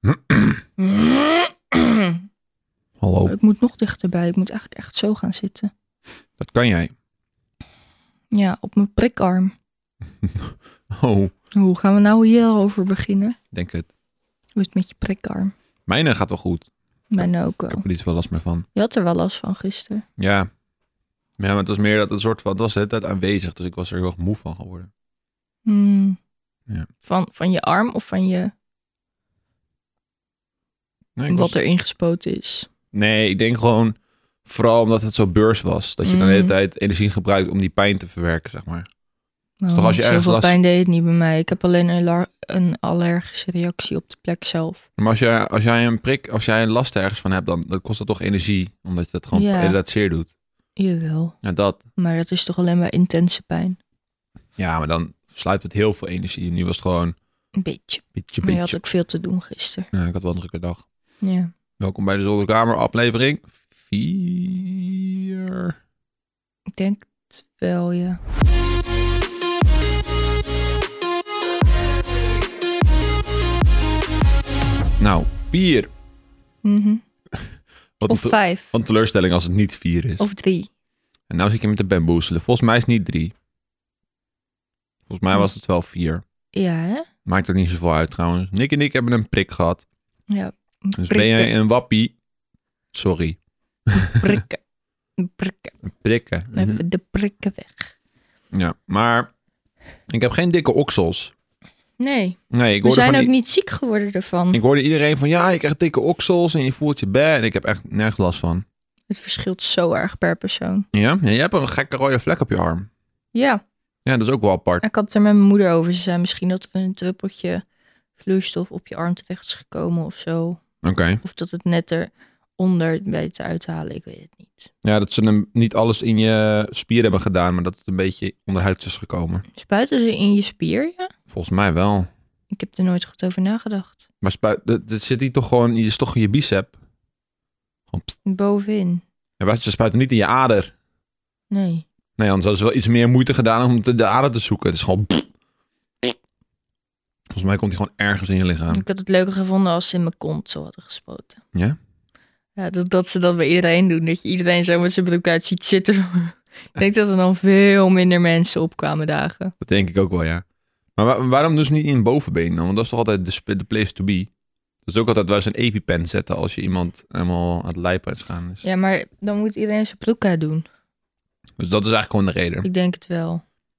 Oh. Hallo, Ik moet nog dichterbij. Ik moet eigenlijk echt zo gaan zitten. dat kan jij. Ja, op mijn prikarm. Oh, Hoe gaan we nou hierover beginnen? denk het. Hoe is het met je prikarm? Mijne gaat wel goed. Mijn ook Ik wel. heb er iets wel last meer van. Je had er wel last van gisteren. Ja. Ja, maar het was meer dat het soort van, het was de hele tijd aanwezig, dus ik was er heel erg moe van geworden. Hmm. Ja. Van, van je arm of van je, Nee, ik was- wat er ingespoten is? Nee, ik denk gewoon vooral omdat het zo beurs was. Dat je dan de hele Mm. tijd energie gebruikt om die pijn te verwerken, zeg maar. Nou, toch als je ergens zoveel last- pijn deed het niet bij mij. Ik heb alleen een, lar- een allergische reactie op de plek zelf. Maar als jij, als jij een prik, als jij een last ergens van hebt, dan, dan kost dat toch energie. Omdat je dat gewoon Ja. dat zeer doet. Jawel, Ja, dat. maar dat is toch alleen bij intense pijn? Ja, maar dan sluipt het heel veel energie. Nu was het gewoon Een beetje. beetje, Maar je had beetje. ook veel te doen gisteren. Ja, ik had wel een drukke dag. Ja. Welkom bij de Zolderkamer, aflevering 4. Ik denk het wel, ja. Nou, 4. Mhm. Wat, een Of te- vijf. wat een teleurstelling als het niet 4 is. Of drie. En nou zit je met de bamboezelen. Volgens mij is het niet 3. Volgens mij was het wel 4. Ja, hè? Maakt er niet zoveel uit trouwens. Nick en ik hebben een prik gehad. Ja. Dus ben prikken, jij een wappie? Sorry, prikken. Prikken. een prikken. Mhm. Even de prikken weg. Ja, maar ik heb geen dikke oksels. Nee, Nee, ik we hoorde van zijn ook die- niet ziek geworden ervan. Ik hoorde iedereen van ja, je krijgt dikke oksels en je voelt je bij. En ik heb echt nergens last van. Het verschilt zo erg per persoon. Ja? ja, je hebt een gekke rode vlek op je arm. Ja, Ja, dat is ook wel apart. ik had het er met mijn moeder over. Ze zei misschien dat er een druppeltje vloeistof op je arm terecht is gekomen of zo. Oké. Of dat het net eronder weet te uithalen. Ik weet het niet. Ja, dat ze hem niet alles in je spier hebben gedaan, maar dat het een beetje onderhuids is gekomen. Spuiten ze in je spier? Ja? Volgens mij wel. Ik heb er nooit goed over nagedacht. Maar spuit, dat, dat zit hier toch gewoon, je is toch in je bicep. Gewoon, pst. Bovenin. Ja, maar ze spuiten hem niet in je ader. Nee. Nee, anders hadden ze wel iets meer moeite gedaan om te- de ader te zoeken. Het is gewoon... pst. Volgens mij komt hij gewoon ergens in je lichaam. Ik had het leuker gevonden als ze in mijn kont zo hadden gespoten. Ja? Ja, dat, dat ze dat bij iedereen doen. Dat je iedereen zo met zijn broek uit ziet zitten. Ik denk dat er dan veel minder mensen opkwamen dagen. Dat denk ik ook wel, ja. Maar wa- waarom doen ze niet in het bovenbeen dan? Want dat is toch altijd de, sp- de place to be. Dat is ook altijd waar eens een epipen zetten als je iemand helemaal aan het lijpen is gaan. is. Ja, maar dan moet iedereen zijn broek uit doen. Dus dat is eigenlijk gewoon de reden. Ik denk het wel.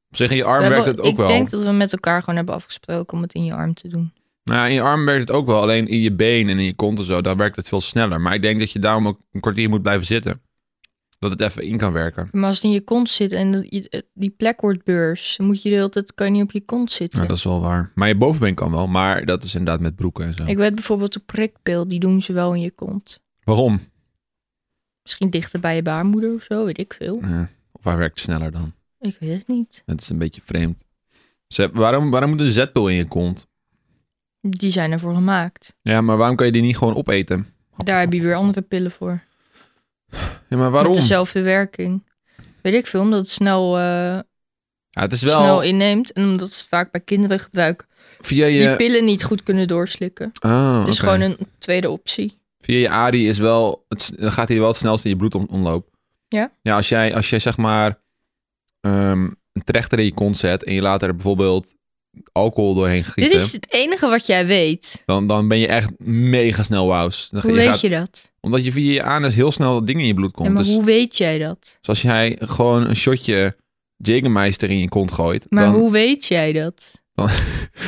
Op zich in je arm We werkt hebben- het ook ik wel. denk dat we met elkaar gewoon hebben afgesproken om het in je arm te doen. Nou, ja, in je arm werkt het ook wel. Alleen in je been en in je kont en zo, daar werkt het veel sneller. Maar ik denk dat je daarom ook een kwartier moet blijven zitten. Dat het even in kan werken. Maar als het in je kont zit en dat je- eh, die plek wordt beurs, dan moet je de hele tijd, kan je niet op je kont zitten. Ja, dat is wel waar. Maar je bovenbeen kan wel. Maar dat is inderdaad met broeken en zo. Ik weet bijvoorbeeld de prikpil, die doen ze wel in je kont. Waarom? Misschien dichter bij je baarmoeder of zo, weet ik veel. Ja, Eh, of hij werkt sneller dan. Ik weet het niet. Dat is een beetje vreemd. Ze, waarom, waarom moet een zetpil in je kont? Die zijn ervoor gemaakt. Ja, maar waarom kan je die niet gewoon opeten? Daar heb je weer andere pillen voor. Ja, maar waarom? Met dezelfde werking. Weet ik veel, omdat het snel, eh, Ja, het is wel snel inneemt. En omdat ze het vaak bij kinderen gebruiken. via je... Die pillen niet goed kunnen doorslikken. Ah, Het is oké. gewoon een tweede optie. Via je ari is wel... Het, s- dan gaat hij wel het snelst in je bloedomloop. Ja? Ja, als jij, als jij zeg maar ehm, een trechter in je kont zet... en je laat er bijvoorbeeld alcohol doorheen gieten... Dit is het enige wat jij weet. dan, dan ben je echt mega snel wauws. Dan ga- Hoe je weet gaat- je dat? Omdat je via je anus heel snel dat ding in je bloed komt. Ja, maar dus, hoe weet jij dat? dus als jij gewoon een shotje Jägermeister in je kont gooit... Maar dan, hoe weet jij dat? Dan,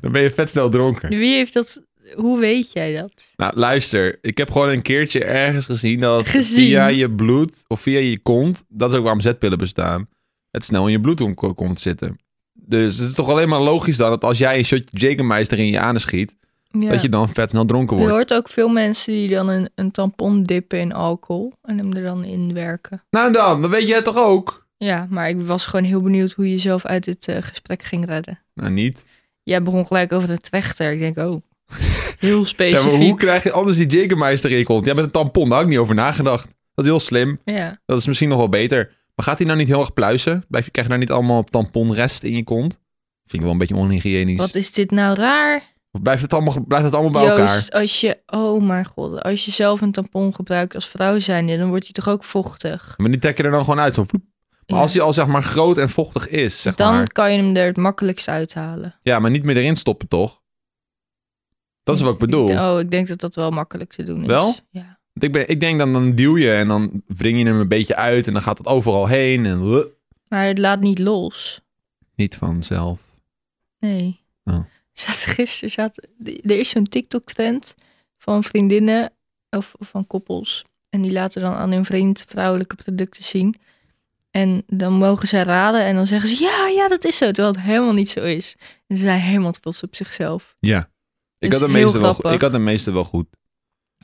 dan ben je vet snel dronken. Wie heeft dat? Hoe weet jij dat? Nou, luister. Ik heb gewoon een keertje ergens gezien dat het Gezien. via je bloed of via je kont, dat is ook waarom zetpillen bestaan, het snel in je bloed om- komt zitten. Dus het is toch alleen maar logisch dan dat als jij een shotje Jägermeister in je anus schiet, Ja. dat je dan vet snel dronken wordt. Je hoort ook veel mensen die dan een, een tampon dippen in alcohol en hem er dan in werken. Nou dan, dan weet jij het toch ook? Ja, maar ik was gewoon heel benieuwd hoe je zelf uit dit eh, gesprek ging redden. Nou, niet. Jij begon gelijk over de trechter. Ik denk, oh, heel Ja, maar hoe specifiek. krijg je anders die Jägermeister in je kont? Ja, met een tampon, daar had ik niet over nagedacht. Dat is heel slim. Ja, Dat is misschien nog wel beter. Maar gaat hij nou niet heel erg pluizen? Blijf je, krijg je nou niet allemaal tamponrest in je kont? Vind ik wel een beetje onhygiënisch. wat is dit nou raar? Of blijft het allemaal, blijft het allemaal bij elkaar? Joost, als je, oh mijn god, als je zelf een tampon gebruikt als vrouw zijnde, dan wordt die toch ook vochtig. Maar die trek je er dan gewoon uit. Zo vloep. Maar Ja. als die al zeg maar groot en vochtig is, zeg dan maar. kan je hem er het makkelijkst uithalen. Ja, maar niet meer erin stoppen, toch? Dat is wat ik bedoel. Oh, ik denk dat dat wel makkelijk te doen is. Wel? Ja. Want Ik, ben, ik denk dan, dan duw je en dan wring je hem een beetje uit en dan gaat het overal heen en wuh, Maar het laat niet los. niet vanzelf. Nee. Oh. Zat, gisteren zat, er is zo'n TikTok-trend van vriendinnen of, of van koppels. En die laten dan aan hun vriend vrouwelijke producten zien. En dan mogen zij raden en dan zeggen ze ja, ja, dat is zo. Terwijl het helemaal niet zo is. En ze zijn helemaal trots op zichzelf. Ja. Ik Is had, de heel meeste wel, go- grappig. ik had de meeste wel goed.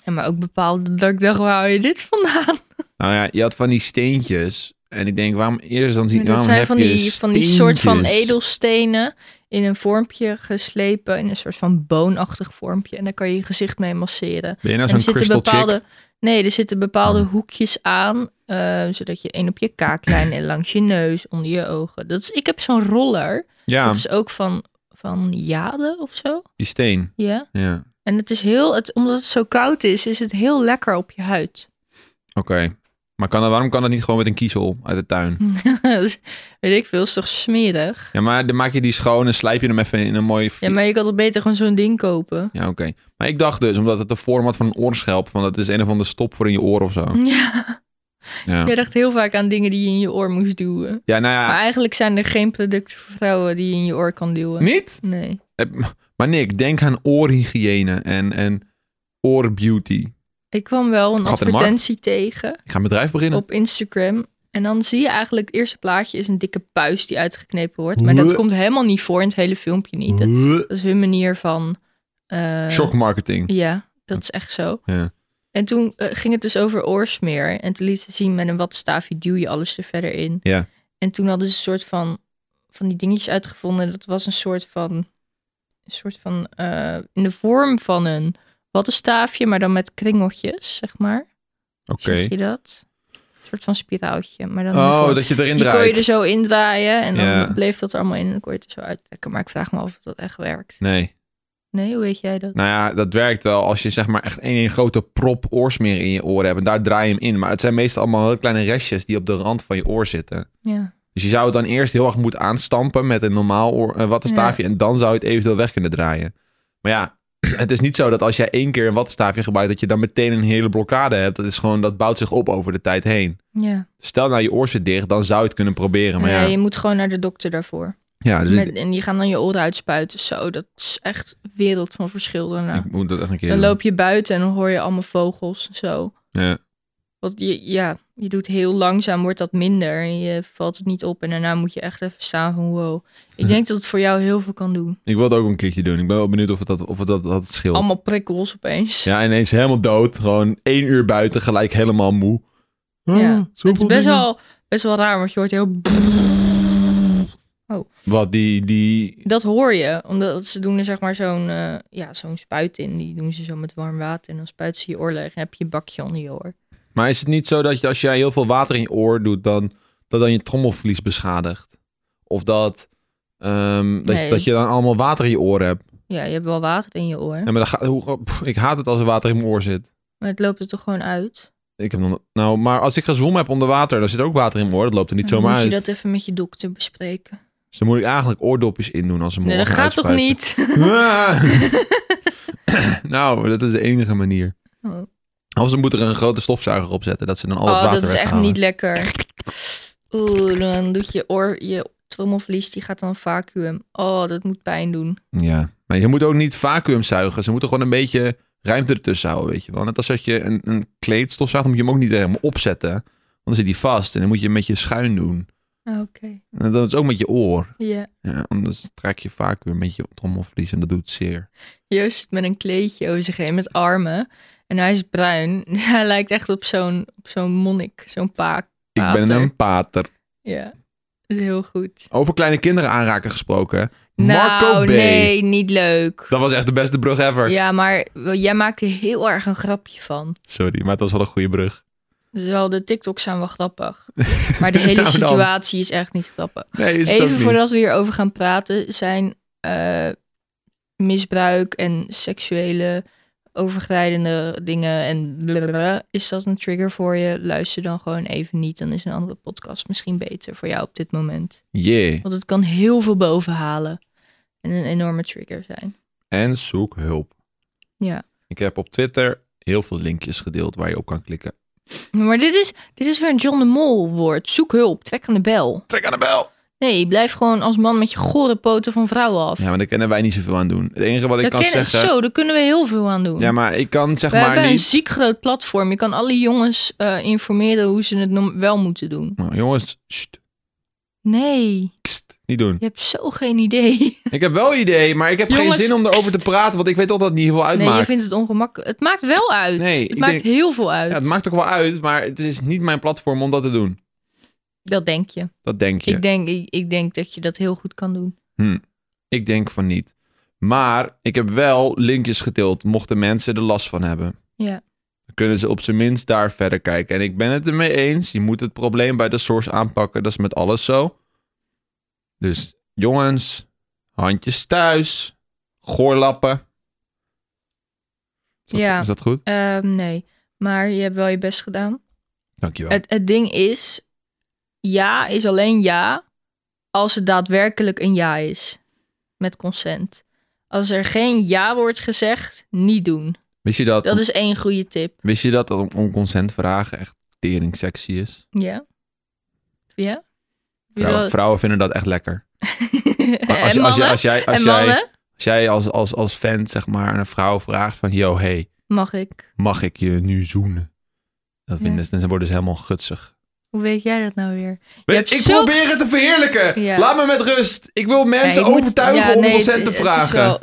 En maar ook bepaalde dat ik dacht, waar hou je dit vandaan? Nou ja, je had van die steentjes. En ik denk, waarom eerst dan zie Maar dat waarom zijn heb van je die, van die soort van steentjes? edelstenen in een vormpje geslepen. In een soort van boonachtig vormpje. En daar kan je je gezicht mee masseren. Ben je nou en er zo'n zitten crystal bepaalde. chick? Nee, er zitten bepaalde Oh. hoekjes aan. eh, zodat je één op je kaaklijn en langs je neus, onder je ogen. Dat is, ik heb zo'n roller. Ja, Dat is ook van, van jade of zo. die steen. Ja. Ja, En het is heel, het, omdat het zo koud is, is het heel lekker op je huid. oké. Maar kan dat, waarom kan dat niet gewoon met een kiezel uit de tuin? Dat is- Dus, Weet ik veel, is toch smerig? Ja, maar dan maak je die schoon en slijp je hem even in een mooi... Ja, maar je kan toch beter gewoon zo'n ding kopen? Ja, oké. Maar ik dacht dus, omdat het de vorm had van een oorschelp, van dat is een of andere stop voor in je oor of zo. Ja, Oh. Ja, je dacht heel vaak aan dingen die je in je oor moest duwen. ja nou ja, Maar eigenlijk zijn er geen producten voor vrouwen die je in je oor kan duwen. niet? Nee. Eh, Maar Nick, denk aan oorhygiëne en, en oorbeauty. Ik kwam wel een Gat in de advertentie tegen Ik ga een bedrijf beginnen. op Instagram. En dan zie je eigenlijk het eerste plaatje is een dikke puis die uitgeknepen wordt. Maar dat Bleh. komt helemaal niet voor in het hele filmpje niet. Dat, Huh? dat is hun manier van... eh, Shock marketing. Ja, dat is echt zo. Ja. En toen eh, ging het dus over oorsmeer. En toen liet ze zien met een watstaafje duw je alles er verder in. Ja. En toen hadden ze een soort van, van die dingetjes uitgevonden. Dat was een soort van, een soort van eh, in de vorm van een wattenstaafje, maar dan met kringeltjes, zeg maar. Oké. Zeg je dat? Een soort van spiraaltje. Maar dan in de Oh, vorm- dat je erin die kon je dus- draait. er zo indraaien en dan Ja. bleef dat er allemaal in en dan kon je het er zo uittrekken. Maar ik vraag me af of dat echt werkt. Nee. Nee, hoe weet jij dat? Nou ja, dat werkt wel als je zeg maar echt één, één grote prop oorsmeer in je oren hebt. En daar draai je hem in. Maar het zijn meestal allemaal hele kleine restjes die op de rand van je oor zitten. Ja. Dus je zou het dan eerst heel erg moeten aanstampen met een normaal oor, een wattenstaafje. En dan zou je het eventueel weg kunnen draaien. Maar ja, het is niet zo dat als jij één keer een wattenstaafje gebruikt, dat je dan meteen een hele blokkade hebt. Dat is gewoon, dat bouwt zich op over de tijd heen. Ja. Stel nou je oor zit dicht, dan zou je het kunnen proberen. Maar Nee, ja, je moet gewoon naar de dokter daarvoor. ja dus ik, Met- en die gaan dan je oren uitspuiten. Zo, dat is echt wereld van verschil daarna. ik moet dat echt een keer dan doen. loop je buiten en dan hoor je allemaal vogels en zo. Ja. Want je, ja, je doet heel langzaam, wordt dat minder. En je valt het niet op. En daarna moet je echt even staan van wow. Ik denk dat het voor jou heel veel kan doen. Ik wil het ook een keertje doen. Ik ben wel benieuwd of het dat, of het dat, dat het scheelt. Allemaal prikkels opeens. Ja, ineens helemaal dood. Gewoon één uur buiten, gelijk helemaal moe. Ah, Ja, het is zoveel best dingen. wel, best wel raar, want je hoort heel... Wat, die, die... Dat hoor je, omdat ze doen er zeg maar zo'n eh, ja, zo'n spuit in. Die doen ze zo met warm water en dan spuiten ze je oor leeg. En heb je een bakje onder je oor. Maar is het niet zo dat je, als jij heel veel water in je oor doet, dan, dat dan je trommelvlies beschadigt? Of dat, ehm, dat, je- Nee. dat je dan allemaal water in je oren hebt? Ja, je hebt wel water in je oor. Ja, maar dat gaat, hoe, pff, ik haat het als er water in mijn oor zit. Maar het loopt er toch gewoon uit? Ik heb nog, nou, maar als ik ga zwommen heb onder water, dan zit ook water in mijn oor. Dat loopt er niet Dan zomaar moet uit. je dat even met je dokter bespreken. Dus dan moet ik eigenlijk oordopjes indoen als ze Nee, morgen dat gaat toch uitspuiten. niet? Ah. nou, dat is de enige manier. Oh, Of ze moeten er een grote stofzuiger op zetten, dat ze dan al het Oh, water dat is echt weghalen. niet lekker. Oeh, dan doet je oor, je trommelvlies, die gaat dan vacuüm. Oh, dat moet pijn doen. Ja, maar je moet ook niet vacuüm zuigen. Ze moeten gewoon een beetje ruimte ertussen houden, weet je wel. Net als als je een, een kleed stofzuigt, moet je hem ook niet helemaal opzetten. Want dan zit hij vast en dan moet je hem met je schuin doen. Oké. En dat is ook met je oor. Ja. Ja, anders trek je vacuüm met je trommelvlies en dat doet zeer. Joost zit met een kleedje over zich heen, met armen. En hij is bruin. Dus hij lijkt echt op zo'n op zo'n monnik, zo'n paak. Ik ben Pater. een pater. Ja, dat is heel goed. Over kleine kinderen aanraken gesproken. Marco nou, B. nee, niet leuk. Dat was echt de beste brug ever. Ja, maar jij maakt er heel erg een grapje van. Sorry, maar het was wel een goede brug. Dus wel, de TikToks zijn wel grappig. Maar de hele Nou dan. situatie is echt niet grappig. Nee, is het ook Even niet. voordat we hierover gaan praten, zijn eh, misbruik en seksuele overgrijdende dingen en blablabla, is dat een trigger voor je? Luister dan gewoon even niet. Dan is een andere podcast misschien beter voor jou op dit moment. Yeah. Want het kan heel veel bovenhalen en een enorme trigger zijn. En zoek hulp. Ja. Ik heb op Twitter heel veel linkjes gedeeld waar je op kan klikken. Maar dit is, dit is weer een John de Mol woord. Zoek hulp, trek aan de bel. Trek aan de bel! Nee, blijf gewoon als man met je gore poten van vrouwen af. Ja, maar daar kunnen wij niet zoveel aan doen. Het enige wat ik Daar kan kennen- zeggen... Zo, daar kunnen we heel veel aan doen. Ja, maar ik kan zeg we hebben maar een niet... ziek groot platform. Je kan alle jongens eh, informeren hoe ze het nom- wel moeten doen. Nou, jongens, sst, Nee, kst, niet doen. je hebt zo geen idee. Ik heb wel idee, maar ik heb Jongens, geen zin om erover te praten, want ik weet toch dat het niet heel veel uitmaakt. Nee, je vindt het ongemakkelijk. Het maakt wel uit. Nee, het ik maakt denk- heel veel uit. ja, het maakt ook wel uit, maar het is niet mijn platform om dat te doen. Dat denk je. Dat denk je. Ik, denk, ik, ik denk dat je dat heel goed kan doen. Ik denk van niet. Maar ik heb wel linkjes gedeeld, mochten mensen er last van hebben. Ja. Dan kunnen ze op zijn minst daar verder kijken. En ik ben het ermee eens, je moet het probleem bij de source aanpakken. Dat is met alles zo. Dus jongens, handjes thuis, goorlappen. Is dat, Ja. is dat goed? Ehm, nee, maar je hebt wel je best gedaan. Dankjewel. Het, het ding is, ja is alleen ja als het daadwerkelijk een ja is. Met consent. Als er geen ja wordt gezegd, niet doen. Wist je dat, Dat is één goede tip. wist je dat om, om consent vragen echt tering sexy is? Ja? Ja? Wie Vrouwen, wil- vrouwen vinden dat echt lekker. Maar als, je- als, en je- mannen? als jij, als en jij, mannen? Als jij als, als, als fan zeg maar aan een vrouw vraagt van... Yo, hey, Mag ik. mag ik je nu zoenen? Dat Ja. vinden ze, dan worden ze helemaal gutsig. Hoe weet jij dat nou weer? Weet- hebt ik zo- probeer het te verheerlijken. Ja. Laat me met rust. Ik wil mensen Ja, je moet- overtuigen ja, om nee, consent het- te het is vragen. wel-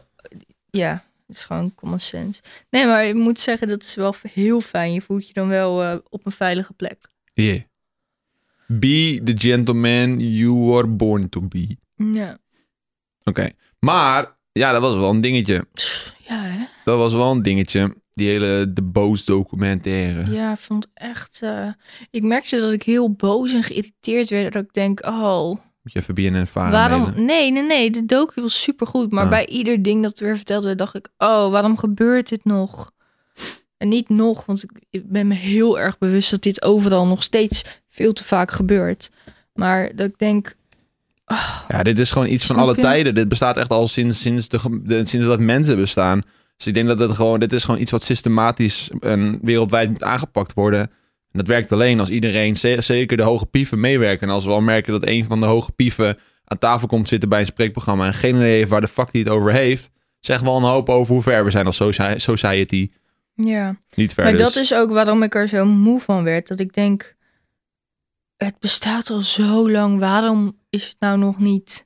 ja, het is gewoon common sense. Nee, maar ik moet zeggen, dat is wel heel fijn. Je voelt je dan wel eh, op een veilige plek. Yeah. Be the gentleman you were born to be. Ja. Oké. Maar, ja, dat was wel een dingetje. Ja, hè? Dat was wel een dingetje. Die hele de boos documentaire. Ja, ik vond echt... eh, ik merkte dat ik heel boos en geïrriteerd werd. Dat ik denk, oh, Moet je even BNN varen waarom... Nee, nee, nee, de docu was supergoed. Maar Ah. bij ieder ding dat weer verteld werd, dacht ik... Oh, waarom gebeurt dit nog? En niet nog, want ik, ik ben me heel erg bewust... dat dit overal nog steeds veel te vaak gebeurt. Maar dat ik denk... ah, Ja, dit is gewoon iets van Snap alle je? tijden. Dit bestaat echt al sinds, sinds, de, ge- de- sinds dat mensen bestaan. Dus ik denk dat het gewoon, dit is gewoon iets wat systematisch en wereldwijd moet aangepakt worden. En dat werkt alleen als iedereen, ze- zeker de hoge pieven, meewerken. En als we al merken dat een van de hoge pieven aan tafel komt zitten bij een spreekprogramma en geen idee heeft waar de fuck die het over heeft, zeg wel een hoop over hoe ver we zijn als socia- society. ja. Niet ver. Maar dat dus. is ook waarom ik er zo moe van werd. Dat ik denk, het bestaat al zo lang. Waarom is het nou nog niet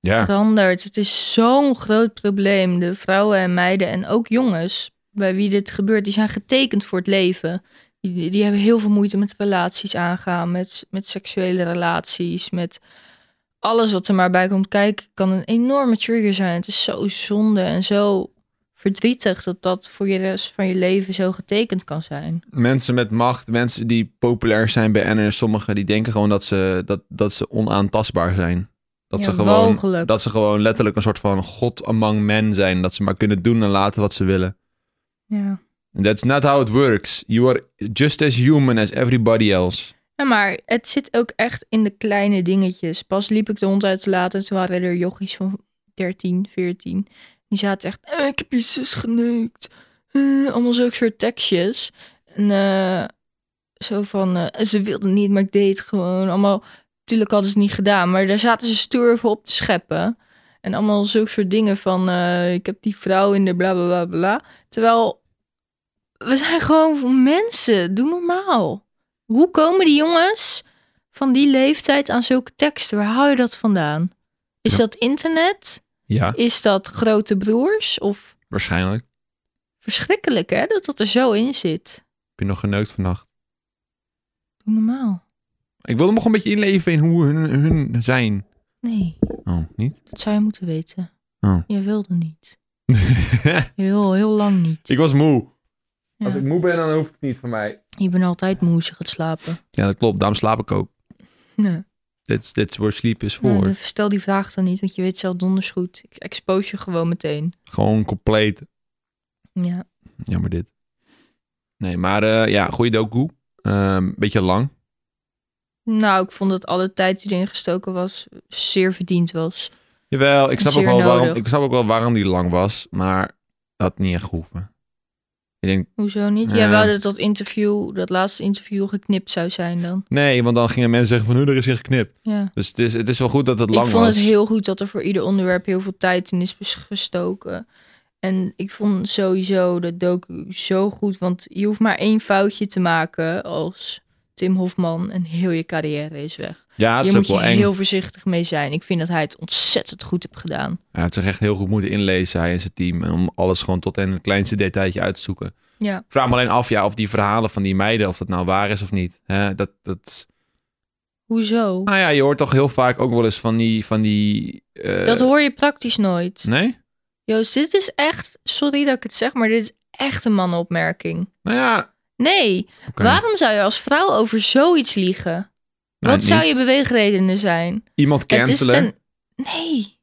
ja. veranderd? Het is zo'n groot probleem. De vrouwen en meiden en ook jongens bij wie dit gebeurt, die zijn getekend voor het leven. Die, die hebben heel veel moeite met relaties aangaan, met, met seksuele relaties, met alles wat er maar bij komt kijken, kan een enorme trigger zijn. Het is zo zonde en zo verdrietig dat dat voor je rest van je leven zo getekend kan zijn. mensen met macht, mensen die populair zijn bij NR, sommigen die denken gewoon dat ze, dat, dat ze onaantastbaar zijn. Dat, Ja, ze gewoon, walgelijk. dat ze gewoon letterlijk een soort van god among men zijn. Dat ze maar kunnen doen en laten wat ze willen. Ja. That's not how it works. You are just as human as everybody else. Ja, maar het zit ook echt in de kleine dingetjes. Pas liep ik de hond uit te laten en toen waren er jochies van 13, 14. Die zaten echt, "Eh, ik heb je zus geneukt. Eh, allemaal zulke soort tekstjes. En eh, zo van, eh, ze wilde niet, maar ik deed het gewoon. Allemaal, natuurlijk hadden ze het niet gedaan, maar daar zaten ze stoer voor op te scheppen. En allemaal zulke soort dingen van, eh, ik heb die vrouw in de bla bla bla bla. Terwijl, we zijn gewoon mensen, doe normaal. Hoe komen die jongens van die leeftijd aan zulke teksten? Waar haal je dat vandaan? Is Ja. dat internet? Ja, Is dat grote broers? Of waarschijnlijk. verschrikkelijk hè, dat dat er zo in zit. Heb je nog geneukt vannacht? Doe normaal. Ik wilde nog een beetje inleven in hoe hun, hun zijn. Nee, Oh, niet? dat zou je moeten weten. Oh. Je wilde niet. Je wil heel lang niet. ik was moe. Ja. Als ik moe ben, dan hoeft het niet van mij. Je bent altijd moe als je gaat slapen. Ja, dat klopt. Daarom slaap ik ook. Nee. That's, that's where sleep is Nou, voor. dan stel die vraag dan niet, want je weet zelf donders goed. Ik expose je gewoon meteen. Gewoon compleet Ja. Jammer dit. Nee, maar eh, ja, goede doku. Ehm beetje lang. Nou, ik vond dat alle tijd die erin gestoken was zeer verdiend was. Jawel, ik snap, ook Zeer wel waarom, nodig. ik snap ook wel waarom die lang was, maar had niet echt gehoeven. Ik denk, Hoezo niet? Ja. Ja, wel dat dat interview, dat laatste interview geknipt zou zijn dan. nee, want dan gingen mensen zeggen van, nu er is hier geknipt. Ja. Dus het is, het is wel goed dat het lang ik vond was. het heel goed dat er voor ieder onderwerp heel veel tijd in is bes- gestoken. En ik vond sowieso de docu zo goed, want je hoeft maar één foutje te maken als Tim Hofman en heel je carrière is weg. Ja, het is Je ook moet je wel eng. heel voorzichtig mee zijn. Ik vind dat hij het ontzettend goed heeft gedaan. Ja, het is echt heel goed moeten inlezen, hij en zijn team. En om alles gewoon tot en het kleinste detailtje uit te zoeken. Ja. Ik vraag me alleen af, ja, of die verhalen van die meiden, of dat nou waar is of niet. Hè, dat, dat... Hoezo? Nou ja, je hoort toch heel vaak ook wel eens van die... Van die eh, dat hoor je praktisch nooit. Nee? Joost, dit is echt, sorry dat ik het zeg, maar dit is echt een mannenopmerking. Nou ja, Nee, oké. waarom zou je als vrouw over zoiets liegen? Nou, Wat zou niet. je beweegredenen zijn? Iemand cancelen. Het is ten... Nee.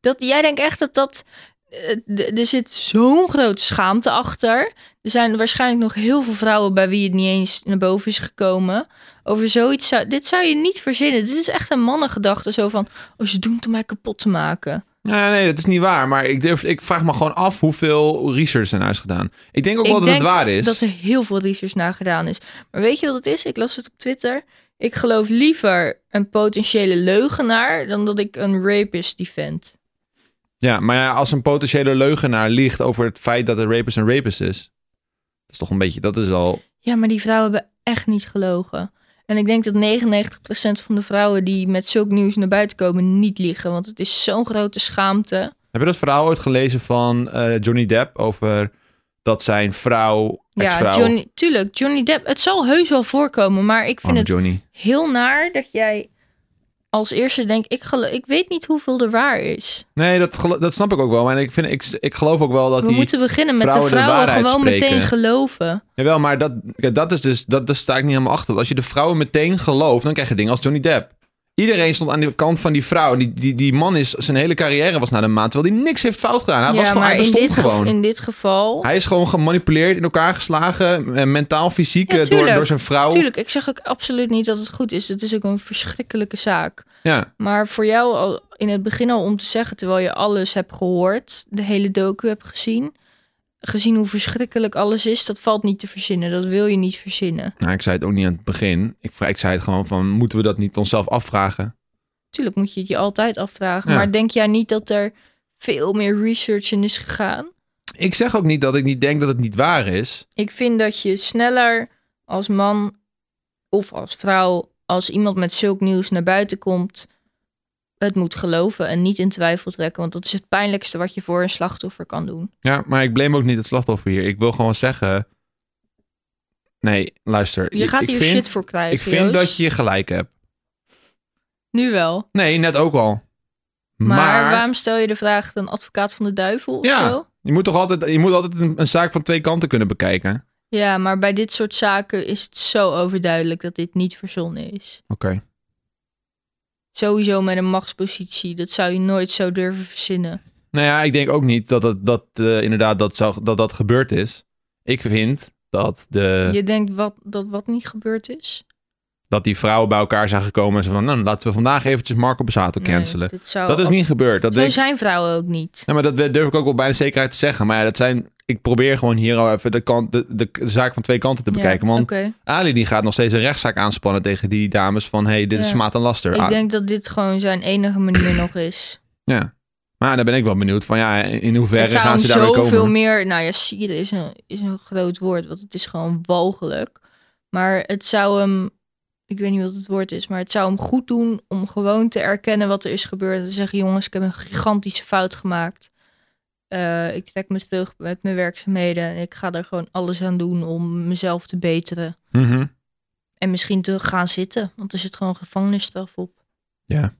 Dat, jij denkt echt dat dat... eh, d- Er zit zo'n grote schaamte achter. Er zijn waarschijnlijk nog heel veel vrouwen bij wie het niet eens naar boven is gekomen. Over zoiets zou... Dit zou je niet verzinnen. Dit is echt een mannengedachte. Zo van, oh, ze doen het om mij kapot te maken. Ja, nee, dat is niet waar. Maar ik, durf, ik vraag me gewoon af hoeveel research er nou is gedaan. Ik denk ook Ik wel dat het denk waar is. Dat er heel veel research naar gedaan is. Maar weet je wat het is? Ik las het op Twitter. Ik geloof liever een potentiële leugenaar... dan dat ik een rapist die vent. Ja, maar ja, als een potentiële leugenaar liegt over het feit dat een rapist een rapist is. Dat is toch een beetje, dat is al... Ja, maar die vrouwen hebben echt niet gelogen. En ik denk dat 99% van de vrouwen die met zulk nieuws naar buiten komen niet liegen. Want het is zo'n grote schaamte. Heb je dat verhaal ooit gelezen van eh, Johnny Depp over dat zijn vrouw, Ja, ex-vrouw... Johnny, tuurlijk, Johnny Depp. Het zal heus wel voorkomen, maar ik vind Arme het Oh, Johnny. heel naar dat jij als eerste denkt... Ik, gelo- ik weet niet hoeveel er waar is. Nee, dat, gelo- dat snap ik ook wel. Maar ik, vind, ik, ik geloof ook wel dat We die... moeten beginnen met vrouwen de de vrouwen waarheid gewoon spreken. meteen geloven. Jawel, maar dat, kijk, dat is dus, dat, daar sta ik niet helemaal achter. Als je de vrouwen meteen gelooft, dan krijg je dingen als Johnny Depp. Iedereen stond aan de kant van die vrouw. Die, die, die man is, zijn hele carrière was naar de maat, terwijl hij niks heeft fout gedaan. Hij, was gewoon, hij in bestond dit, geval- gewoon. in dit geval... Hij is gewoon gemanipuleerd, in elkaar geslagen, eh, mentaal, fysiek, Ja, eh, door, tuurlijk. door zijn vrouw. Tuurlijk, ik zeg ook absoluut niet dat het goed is. Het is ook een verschrikkelijke zaak. Ja, Maar voor jou al in het begin al om te zeggen, terwijl je alles hebt gehoord, de hele docu hebt gezien, gezien hoe verschrikkelijk alles is, dat valt niet te verzinnen. Dat wil je niet verzinnen. nou, ik zei het ook niet aan het begin. Ik, vra- ik zei het gewoon van, moeten we dat niet onszelf afvragen? Tuurlijk moet je het je altijd afvragen. Ja. Maar denk jij niet dat er veel meer research in is gegaan? Ik zeg ook niet dat ik niet denk dat het niet waar is. Ik vind dat je sneller als man of als vrouw, als iemand met zulk nieuws naar buiten komt, het moet geloven en niet in twijfel trekken. Want dat is het pijnlijkste wat je voor een slachtoffer kan doen. Ja, maar ik blame ook niet het slachtoffer hier. Ik wil gewoon zeggen... Nee, luister. Je ik- gaat ik hier vind- shit voor krijgen. Ik vind Joost. dat je gelijk hebt. Nu wel. Nee, net ook al. Maar, Maar, waarom stel je de vraag een advocaat van de duivel of Ja. zo? je moet toch altijd, je moet altijd een, een zaak van twee kanten kunnen bekijken. Oké. Ja, maar bij dit soort zaken is het zo overduidelijk dat dit niet verzonnen is. Sowieso met een machtspositie, dat zou je nooit zo durven verzinnen. Nou ja, ik denk ook niet dat het, dat, eh, inderdaad dat, zou, dat dat gebeurd is. Ik vind dat, de, Je denkt wat, dat wat niet gebeurd is? dat die vrouwen bij elkaar zijn gekomen en ze van, nou, laten we vandaag eventjes Marco Bezato Nee, cancelen. dit zou dat is al- niet gebeurd. Dat Zo weet ik- zijn vrouwen ook niet. Nou, maar dat durf ik ook wel bijna zekerheid te zeggen. Maar ja, dat zijn, ik probeer gewoon hier al even de, kant, de, de, de zaak van twee kanten te Ja, bekijken. Want oké. Ali die gaat nog steeds een rechtszaak aanspannen tegen die dames van, hey, dit is Ja. smaad en laster. Ik Ah, denk dat dit gewoon zijn enige manier nog is. Ja. Maar dan ben ik wel benieuwd van ja, in hoeverre het zou gaan ze hem daar weer zoveel komen? meer... Nou ja, sieren is een, is een groot woord, want het is gewoon walgelijk. Maar het zou hem... Ik weet niet wat het woord is, maar het zou hem goed doen om gewoon te erkennen wat er is gebeurd. En te zeggen, jongens, ik heb een gigantische fout gemaakt. Eh, ik trek me terug met mijn werkzaamheden en ik ga er gewoon alles aan doen om mezelf te beteren. Mhm. En misschien te gaan zitten, want er zit gewoon gevangenisstraf op. Maar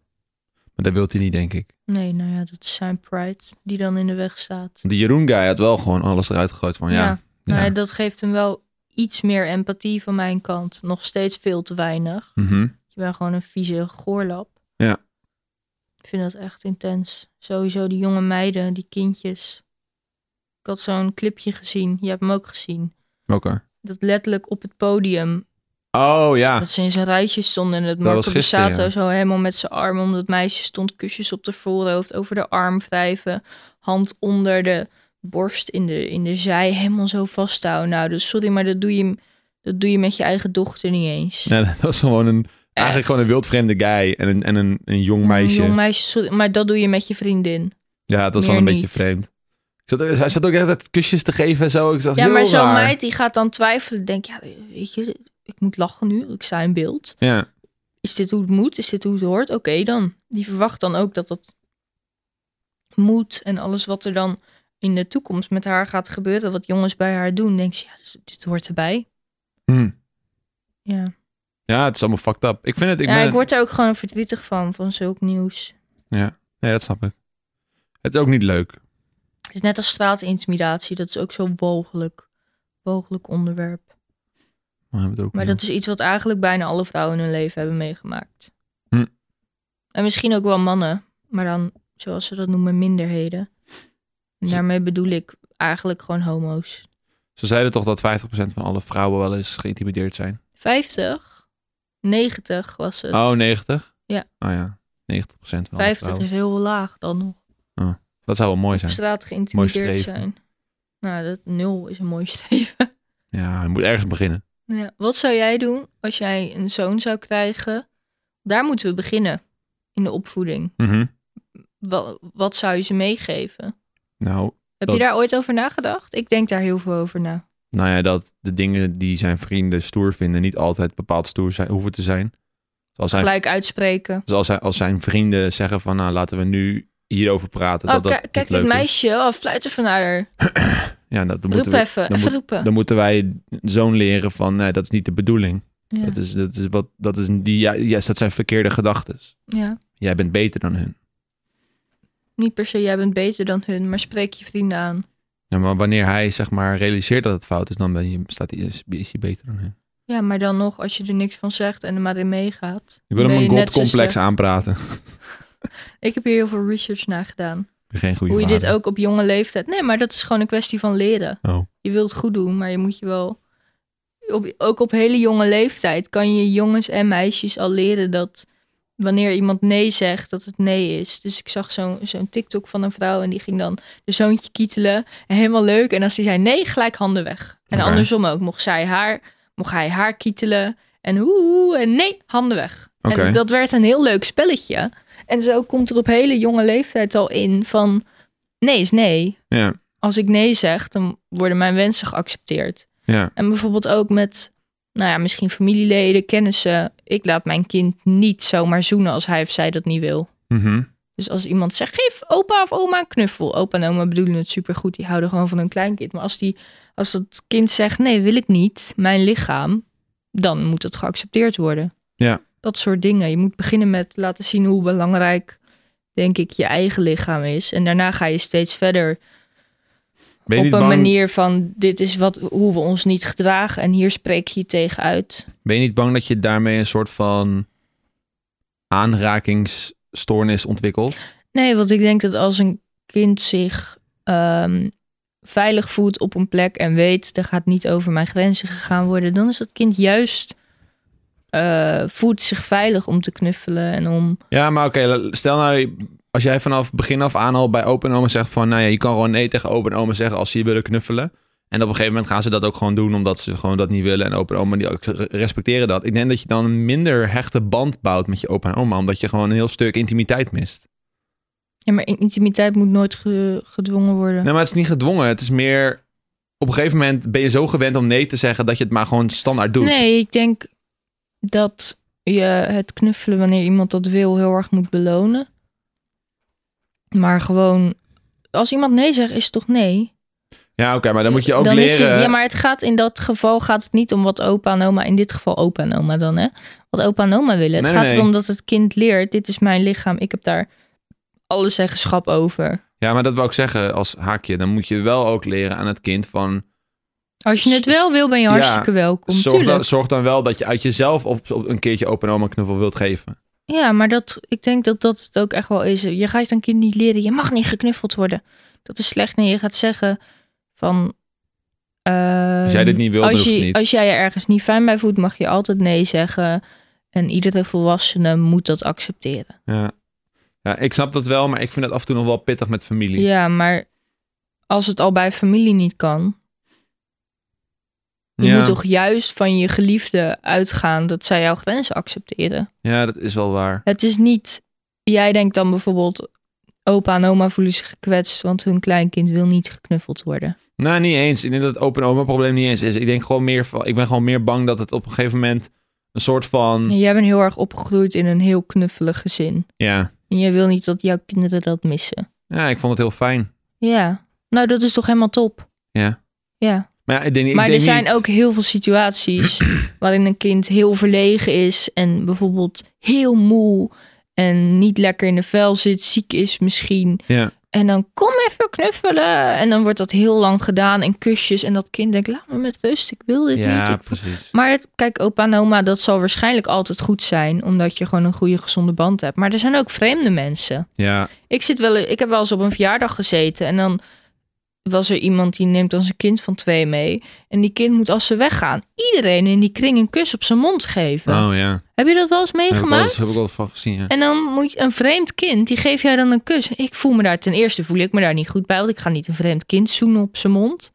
dat wil hij niet, denk ik. Nee, nou ja, dat is zijn pride die dan in de weg staat. nou Want die Jeroen guy had wel gewoon alles eruit gegooid van ja. ja. Maar dat geeft hem wel iets meer empathie van mijn kant. Nog steeds veel te weinig. Mhm. Je bent gewoon een vieze goorlap. Ja. Ik vind dat echt intens. Sowieso die jonge meiden, die kindjes. Ik had zo'n clipje gezien. Je hebt hem ook gezien. Welke? Dat letterlijk op het podium. Oh ja. Dat ze in zijn rijtje stonden. En dat Dat was Marco gisteren, Bussato ja. zo helemaal met zijn arm om dat meisje stond. Kusjes op de voorhoofd, over de arm wrijven. Hand onder de borst, in de, in de zij. Helemaal zo vasthouden. Nou, dus sorry, maar dat doe je, dat doe je met je eigen dochter niet eens. Ja, dat was gewoon een, eigenlijk Echt. gewoon een wildvreemde guy en een, en een, een jong Een meisje. Jong meisje, sorry, maar dat doe je met je vriendin. ja, het was wel een meer beetje niet. vreemd. Ik zat, hij zat ook echt dat kusjes te geven en zo. Ik zag Ja, heel maar zo'n raar. meid die gaat dan twijfelen. Denk, ja, weet je, ik moet lachen nu. Ik sta in beeld. Ja, Is dit hoe het moet? Is dit hoe het hoort? Oké dan. Die verwacht dan ook dat dat moet. En alles wat er dan in de toekomst met haar gaat gebeuren. Wat jongens bij haar doen. Denkt ze, ja, dus dit hoort erbij. Hm. Ja, ja, het is allemaal fucked up. Ik vind het... Ik ik, ja, ben, ik word er ook gewoon verdrietig van. Van zulk nieuws. Nee, dat snap ik. Het is ook niet leuk. Het is net als straatintimidatie. Dat is ook zo walgelijk. Walgelijk onderwerp. Maar, we hebben het ook Maar niet. dat is iets wat eigenlijk bijna alle vrouwen in hun leven hebben meegemaakt. Hm. En misschien ook wel mannen, maar dan, zoals ze dat noemen, minderheden. En Z- daarmee bedoel ik eigenlijk gewoon homo's. Ze zeiden toch dat 50% van alle vrouwen wel eens geïntimideerd zijn? 50, 90 was het. Oh, 90? Ja. Oh ja, 90% van alle 50 vrouwen. is heel laag dan nog. Dat zou wel mooi Op zijn. straat Mooi geïntimideerd streven. zijn. Nou, dat nul is een mooi streven. Ja, je moet ergens beginnen. Ja. Wat zou jij doen als jij een zoon zou krijgen? Daar moeten we beginnen in de opvoeding. Mhm. Wa- wat zou je ze meegeven? Nou, Heb Dat- je daar ooit over nagedacht? Ik denk daar heel veel over na. Nou ja, dat de dingen die zijn vrienden stoer vinden niet altijd bepaald stoer zijn, hoeven te zijn. Dus als zijn, Gelijk uitspreken. dus als zijn, als zijn vrienden zeggen van nou laten we nu hierover praten. Oh, dat dat ki- niet kijk leuk dit is. meisje. Oh, fluiten van haar. Ja, dat, dan, Roep moeten we, even. dan Even moet- roepen. dan moeten wij zo'n leren van nee, dat is niet de bedoeling. Ja. Dat, is, dat, is wat, dat, is die, ja, yes, dat zijn verkeerde gedachten. ja. Jij bent beter dan hun. Niet per se, jij bent beter dan hun, maar spreek je vrienden aan. Ja, maar wanneer hij zeg maar realiseert dat het fout is, dan ben je, staat hij, is, is hij beter dan hun. Ja, maar dan nog, als je er niks van zegt en er maar in meegaat. Ik wil ben hem je een net zo godcomplex slecht. aanpraten. Ik heb hier heel veel research naar gedaan. Geen goede Hoe je dit vader. ook op jonge leeftijd. Nee, maar dat is gewoon een kwestie van leren. Oh. Je wilt goed doen, maar je moet je wel. Op, ook op hele jonge leeftijd kan je jongens en meisjes al leren dat wanneer iemand nee zegt, dat het nee is. Dus ik zag zo'n zo'n TikTok van een vrouw en die ging dan de zoontje kietelen. En helemaal leuk. En als die zei nee, gelijk handen weg. En Oké. andersom ook. Mocht, zij haar, mocht hij haar kietelen. En hoe en nee, handen weg. Oké. En dat werd een heel leuk spelletje. En zo komt er op hele jonge leeftijd al in van nee is nee Ja, als ik nee zeg, dan worden mijn wensen geaccepteerd. ja. En bijvoorbeeld ook met, nou ja, misschien familieleden, kennissen. Ik laat mijn kind niet zomaar zoenen als hij of zij dat niet wil. Mhm. Dus als iemand zegt, geef opa of oma een knuffel. Opa en oma bedoelen het supergoed, die houden gewoon van hun kleinkind. Maar als, die, als dat kind zegt, nee, wil ik niet, mijn lichaam, dan moet dat geaccepteerd worden. Ja. Dat soort dingen. Je moet beginnen met laten zien hoe belangrijk, denk ik, je eigen lichaam is. En daarna ga je steeds verder Ben je op niet een bang- manier van dit is wat, hoe we ons niet gedragen en hier spreek je je tegen uit. Ben je niet bang dat je daarmee een soort van aanrakingsstoornis ontwikkelt? Nee, want ik denk dat als een kind zich ehm, veilig voelt op een plek en weet, er gaat niet over mijn grenzen gegaan worden, dan is dat kind juist eh, voelt zich veilig om te knuffelen en om. Ja, maar oké, la- stel nou, als jij vanaf begin af aan al bij open oma zegt van, nou ja, je kan gewoon nee tegen open oma zeggen als ze je willen knuffelen. En op een gegeven moment gaan ze dat ook gewoon doen, omdat ze gewoon dat niet willen. En open oma die ook re- respecteren dat. Ik denk dat je dan een minder hechte band bouwt met je opa en oma, omdat je gewoon een heel stuk intimiteit mist. Ja, maar in- intimiteit moet nooit ge- gedwongen worden. Nee, Nou, maar het is niet gedwongen. Het is meer, op een gegeven moment ben je zo gewend om nee te zeggen dat je het maar gewoon standaard doet. Nee, ik denk dat je het knuffelen wanneer iemand dat wil heel erg moet belonen. Maar gewoon, als iemand nee zegt, is het toch nee? Ja, oké, maar dan moet je ook Dan is leren. het- ja, maar het gaat in dat geval gaat het niet om wat opa en oma, in dit geval opa en oma dan, hè? Wat opa en oma willen. Het Nee, gaat nee. erom dat het kind leert, dit is mijn lichaam, ik heb daar alle zeggenschap over. Ja, maar dat wou ik zeggen als haakje. Dan moet je wel ook leren aan het kind van... Als je het wel wil, ben je Ja, hartstikke welkom. Zorg Tuurlijk. dan, zorg dan wel dat je uit jezelf op, op een keertje open oma een knuffel wilt geven. Ja, maar dat, ik denk dat dat het ook echt wel is. Je gaat een kind niet leren, je mag niet geknuffeld worden. Dat is slecht. Nee, je gaat zeggen van... Als jij dit ehm, niet wil, dan als, hoeft het je, niet. als jij je ergens niet fijn bij voelt, mag je altijd nee zeggen. En iedere volwassene moet dat accepteren. Ja. ja, ik snap dat wel, maar ik vind het af en toe nog wel pittig met familie. Ja, maar als het al bij familie niet kan, je Ja. moet toch juist van je geliefde uitgaan dat zij jouw grenzen accepteren. Ja, dat is wel waar. Het is niet, jij denkt dan bijvoorbeeld, opa en oma voelen zich gekwetst, want hun kleinkind wil niet geknuffeld worden. Nou, niet eens. Ik denk dat het open oma probleem niet eens is. Ik denk gewoon meer van, ik ben gewoon meer bang dat het op een gegeven moment een soort van, En jij bent heel erg opgegroeid in een heel knuffelig gezin. ja. En jij wil niet dat jouw kinderen dat missen. Ja, ik vond het heel fijn. Ja, nou dat is toch helemaal top. Ja. Ja. Maar ja, ik denk, ik maar denk er zijn niet- ook heel veel situaties waarin een kind heel verlegen is en bijvoorbeeld heel moe en niet lekker in de vel zit, ziek is misschien. Ja. En dan kom even knuffelen. En dan wordt dat heel lang gedaan en kusjes. En dat kind denkt, laat me met rust, ik wil dit niet. Ja, Ik- precies. Maar het, kijk, opa en oma, dat zal waarschijnlijk altijd goed zijn, omdat je gewoon een goede gezonde band hebt. Maar er zijn ook vreemde mensen. Ja, Ik, zit wel, ik heb wel eens op een verjaardag gezeten en dan was er iemand die neemt dan zijn kind van twee mee. En die kind moet als ze weggaan iedereen in die kring een kus op zijn mond geven. oh ja. Heb je dat wel eens Daar heb ik wel meegemaakt? eens- heb ik wel van gezien, ja. En dan moet je een vreemd kind, die geef jij dan een kus. Ik voel me daar ten eerste voel ik me daar niet goed bij, want ik ga niet een vreemd kind zoenen op zijn mond.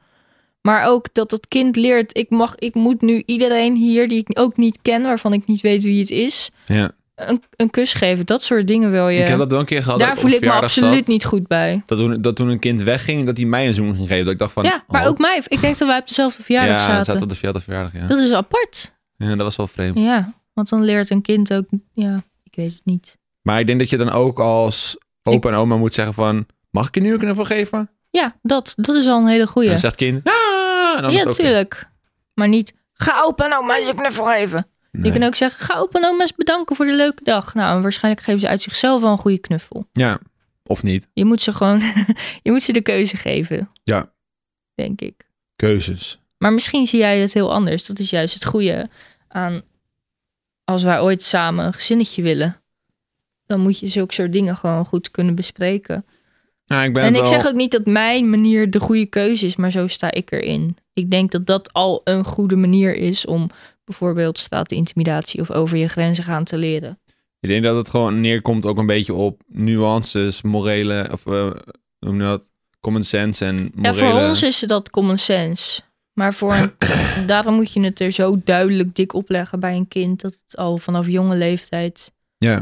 Maar ook dat dat kind leert, ik mag, ik moet nu iedereen hier die ik ook niet ken, waarvan ik niet weet wie het is, ja. een, een kus geven. Dat soort dingen wil je. Ik heb dat wel een keer gehad. dat daar op voel een ik me verjaardag absoluut zat. niet goed bij. Dat toen, dat toen een kind wegging, dat hij mij een zoen ging geven. Dat ik dacht van... ja, maar oh. ook mij. Ik denk dat wij op dezelfde verjaardag ja, zaten. op de verjaardag, verjaardag ja. Dat is apart. ja. Dat was wel vreemd. Ja, want dan leert een kind ook... Ja, ik weet het niet. Maar ik denk dat je dan ook als opa en oma moet zeggen van... Mag ik je nu een knuffel Oh, geven? Ja, dat, dat is al een hele En goeie. dan zegt het kind... "Ah," en dan is Ja, het oké. tuurlijk. Maar niet... Ga opa en oma eens een knuffel geven. Nee. Je kan ook zeggen... Ga opa en oma eens bedanken voor de leuke dag. Nou, en waarschijnlijk geven ze uit zichzelf wel een goede knuffel. Ja, of niet. Je moet ze gewoon... je moet ze de keuze geven. Ja. Denk ik. Keuzes. Maar misschien zie jij het heel anders. Dat is juist het goede aan als wij ooit samen een gezinnetje willen. Dan moet je zulke soort dingen gewoon goed kunnen bespreken. Nou, ik ben en het ik wel... zeg ook niet dat mijn manier de goede keuze is, maar zo sta ik erin. Ik denk dat dat al een goede manier is om bijvoorbeeld staat de intimidatie of over je grenzen gaan te leren. Ik denk dat het gewoon neerkomt ook een beetje op nuances, morele... Of eh, hoe noem je dat? Common sense en morele... Ja, voor ons is dat common sense. Maar voor een- daarom moet je het er zo duidelijk dik opleggen bij een kind dat het al vanaf jonge leeftijd Ja.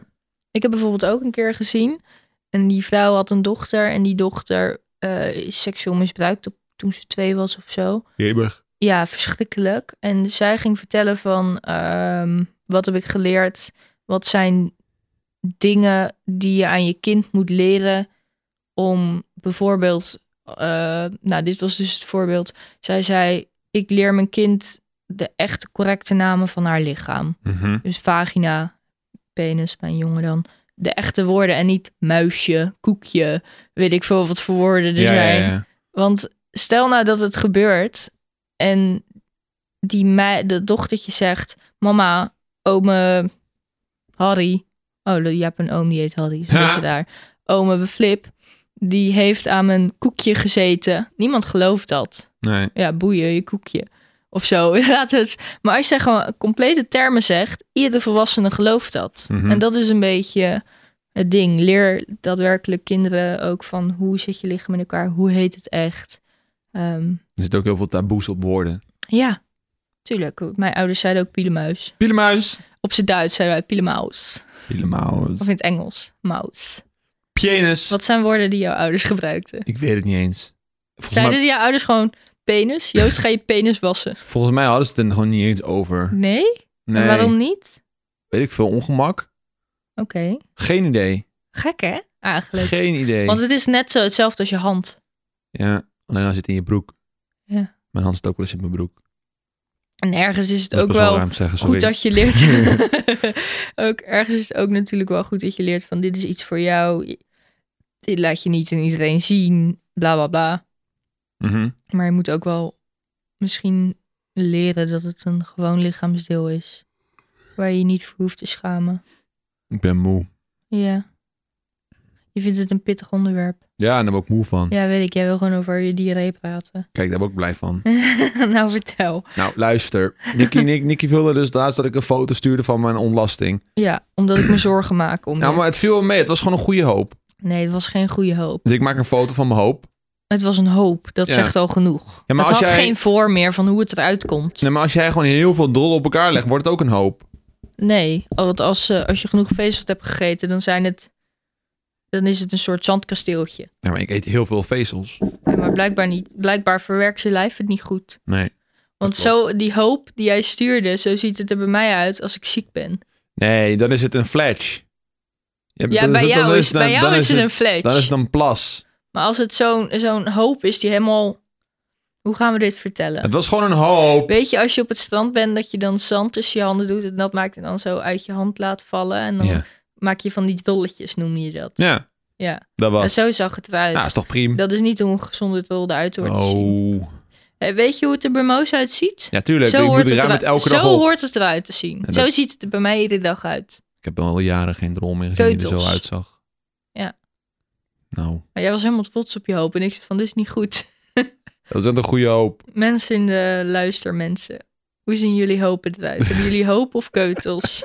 Ik heb bijvoorbeeld ook een keer gezien. En die vrouw had een dochter. En die dochter eh, is seksueel misbruikt op, toen ze twee was of zo. Jebig. Ja, verschrikkelijk. En zij ging vertellen van... ehm, wat heb ik geleerd? Wat zijn dingen die je aan je kind moet leren... om bijvoorbeeld... eh, nou, dit was dus het voorbeeld. Zij zei, ik leer mijn kind... de echte correcte namen van haar lichaam. Mhm. Dus vagina, penis bij een jongen dan. De echte woorden en niet muisje, koekje, weet ik veel wat voor woorden er Ja, ja, zijn. ja, ja. Want stel nou dat het gebeurt en die mei, de dochtertje zegt... Mama, ome Harry... Oh, je hebt een oom die heet Harry, zo is Ja. je daar. Ome Flip, die heeft aan mijn koekje gezeten. Niemand gelooft dat Nee. ja, boeien, je koekje. Of zo, laat het. Maar als jij gewoon complete termen zegt, iedere volwassene gelooft dat. Mhm. En dat is een beetje het ding. Leer daadwerkelijk kinderen ook van hoe zit je lichaam in elkaar, hoe heet het echt. Ehm, Er zit ook heel veel taboes op woorden. ja, tuurlijk. Mijn ouders zeiden ook pielemuis. Pielemuis. Op zijn Duits zeiden wij pielemaus. Pielemuis. Of in het Engels, maus. Penis. Wat zijn woorden die jouw ouders gebruikten? Ik weet het niet eens. Volgens mij, Zeiden jouw ouders gewoon penis? Joost, ga je penis wassen? volgens mij hadden ze het er gewoon niet eens over. Nee? Nee, En waarom niet? weet ik veel. Ongemak? Oké. Geen idee. Gek hè, eigenlijk. Geen idee. Want het is net zo hetzelfde als je hand. Ja, alleen als het in je broek. Ja. Mijn hand zit ook wel eens in mijn broek. En ergens is het Dat ook is wel wel ruim te zeggen, sorry. goed dat je leert. ook ergens is het ook natuurlijk wel goed dat je leert van dit is iets voor jou. Dit laat je niet aan iedereen zien. Bla bla bla. Mhm. Maar je moet ook wel misschien leren dat het een gewoon lichaamsdeel is. Waar je je niet voor hoeft te schamen. Ik ben moe. Ja. Je vindt het een pittig onderwerp. Ja, en daar ben ik moe van. Ja, weet ik. Jij wil gewoon over je diarree praten. Kijk, daar ben ik blij van. nou, vertel. Nou, luister. Nicky, Nick, Nicky vulde dus laatst dat ik een foto stuurde van mijn ontlasting. Ja, omdat ik me zorgen maak om Nou, je. maar het viel wel mee. Het was gewoon een goede hoop. Nee, het was geen goede hoop. Dus ik maak een foto van mijn hoop. Het was een hoop. Dat Ja. zegt al genoeg. Ja, maar het als had jij- geen voor meer van hoe het eruit komt. Nee, maar als jij gewoon heel veel drol op elkaar legt, wordt het ook een hoop. Nee, want als, eh, als je genoeg vezels hebt gegeten, dan, zijn het, dan is het een soort zandkasteeltje. Ja, maar ik eet heel veel vezels. Ja, Maar blijkbaar, niet, blijkbaar verwerkt je lijf het niet goed. Nee. Want Dat klopt. zo, die hoop die jij stuurde, zo ziet het er bij mij uit als ik ziek ben. Nee, dan is het een flash. Ja, Ja, dan bij het- dan jou is, dan- bij jou dan is het een flash. Dan is het een plas. Maar als het zo'n zo'n hoop is die helemaal... Hoe gaan we dit vertellen? Het was gewoon een hoop. Weet je, als je op het strand bent, dat je dan zand tussen je handen doet, het nat maakt en dan zo uit je hand laat vallen. En dan Ja, maak je van die dolletjes, noem je dat. ja Ja, dat en was. zo zag het eruit. Nou, is toch prima. Dat is niet hoe een gezonde drol eruit hoort te zien. Oh. Hé, weet je hoe het er bij Moos uitziet? Ja, tuurlijk. zo ik moet hoort, het, ruim eruit- het elke zo dag op. hoort het eruit te zien. En Zo dat- ziet het er bij mij iedere dag uit. Ik heb al jaren geen drol meer gezien die er Keutels. zo uitzag. Ja. Nou, Maar jij was helemaal trots op je hoop en ik zei van, dit is niet goed. dat is echt een goede hoop. Mensen in de luister, mensen. Hoe zien jullie hopen eruit? Hebben jullie hoop of keutels?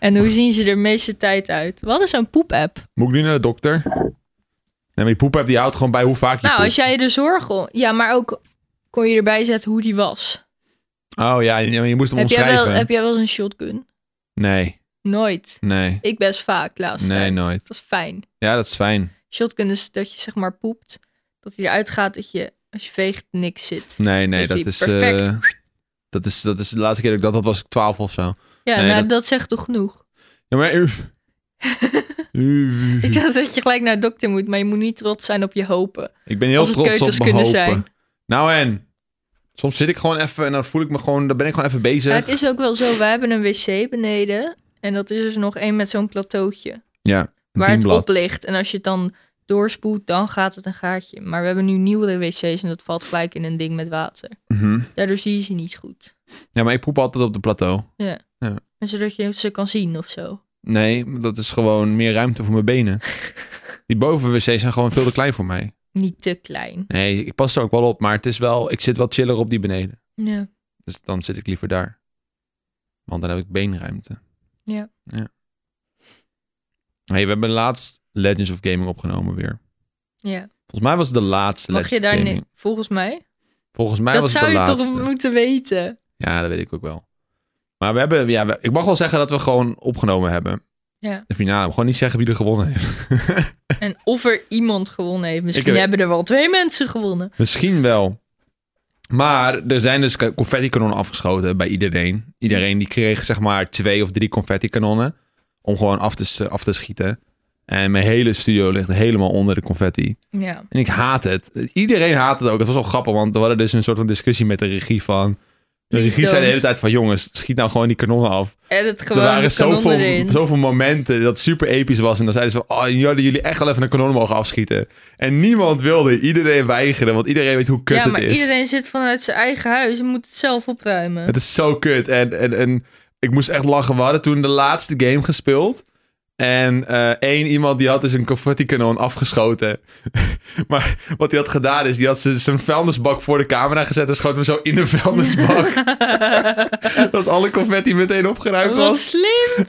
En hoe zien ze er de meeste tijd uit? Wat is zo'n poep-app? Moet ik nu naar de dokter? Nee, maar die poep heb die houdt gewoon bij hoe vaak je Nou, poept. als jij je er zorgen om... Ja, maar ook kon je erbij zetten hoe die was. Oh ja, je, je moest hem Heb jij, omschrijven. wel, heb jij wel eens een shotgun? Nee, Nooit. nee. Ik best vaak, laatst. Nee, nooit. Dat is fijn. Ja, dat is fijn. Shotgun is dat je zeg maar poept. Dat hij eruit gaat dat je, als je veegt, niks zit. Nee, nee, Dat dat Dus die is, perfect- eh, dat is... Dat is de laatste keer dat ik dat had, was ik 12 of zo. Ja, Nee, nou, dat- dat... zegt toch genoeg? Ja, maar... eh, Ik dacht dat je gelijk naar de dokter moet, maar je moet niet trots zijn op je hopen. Ik ben heel Als het trots op keutels mijn hopen. kunnen zijn. Nou en? Soms zit ik gewoon even en dan voel ik me gewoon... Dan ben ik gewoon even bezig. Ja, het is ook wel zo, wij hebben een wc beneden. En dat is dus nog één met zo'n plateautje. Ja, een waar het dienblad. op ligt. En als je het dan doorspoelt, dan gaat het een gaatje. Maar we hebben nu nieuwere wc's en dat valt gelijk in een ding met water. Mhm. Daardoor zie je ze niet goed. Ja, maar ik poep altijd op de plateau. En zodat je ze kan zien of zo. Nee, dat is gewoon meer ruimte voor mijn benen. Die bovenwc's zijn gewoon veel te klein voor mij. Niet te klein. Nee, ik pas er ook wel op, maar het is wel... Ik zit wel chiller op die beneden. Ja. Dus dan zit ik liever daar. Want dan heb ik beenruimte. Ja. ja. Hey, we hebben laatst Legends of Gaming opgenomen weer. ja. Volgens mij was het de laatste Mag Legends je daar of niet? Gaming. Volgens mij. Volgens mij Dat was het zou de je laatste. toch moeten weten. Ja, dat weet ik ook wel. Maar we hebben, ja, we- ik mag wel zeggen dat we gewoon opgenomen hebben. Ja. De finale. Gewoon niet zeggen wie er gewonnen heeft. En of er iemand gewonnen heeft. Misschien heb- hebben er wel twee mensen gewonnen. Misschien wel. Maar er zijn dus confetti-kanonnen afgeschoten bij iedereen. Iedereen die kreeg zeg maar twee of drie confetti-kanonnen. Om gewoon af te, s- af te schieten. En mijn hele studio ligt helemaal onder de confetti. Ja. En ik haat het. Iedereen haat het ook. Het was wel grappig, want we hadden dus een soort van discussie met de regie van... De Please regie zei de hele don't. tijd van, jongens, schiet nou gewoon die kanonnen af. En het gewoon Er waren de kanon zoveel, erin. zoveel momenten dat super episch was. En dan zeiden ze van, oh, jullie jullie echt wel even een kanon mogen afschieten. En niemand wilde. Iedereen weigerde, want iedereen weet hoe kut ja, maar het is. iedereen zit vanuit zijn eigen huis en moet het zelf opruimen. Het is zo kut. En, en, en ik moest echt lachen. We hadden toen de laatste game gespeeld. En eh één iemand die had dus een confetti-kanon afgeschoten. maar wat hij had gedaan is, die had z- zijn vuilnisbak voor de camera gezet en schoot hem zo in de vuilnisbak. dat alle confetti meteen opgeruimd Wat was. slim!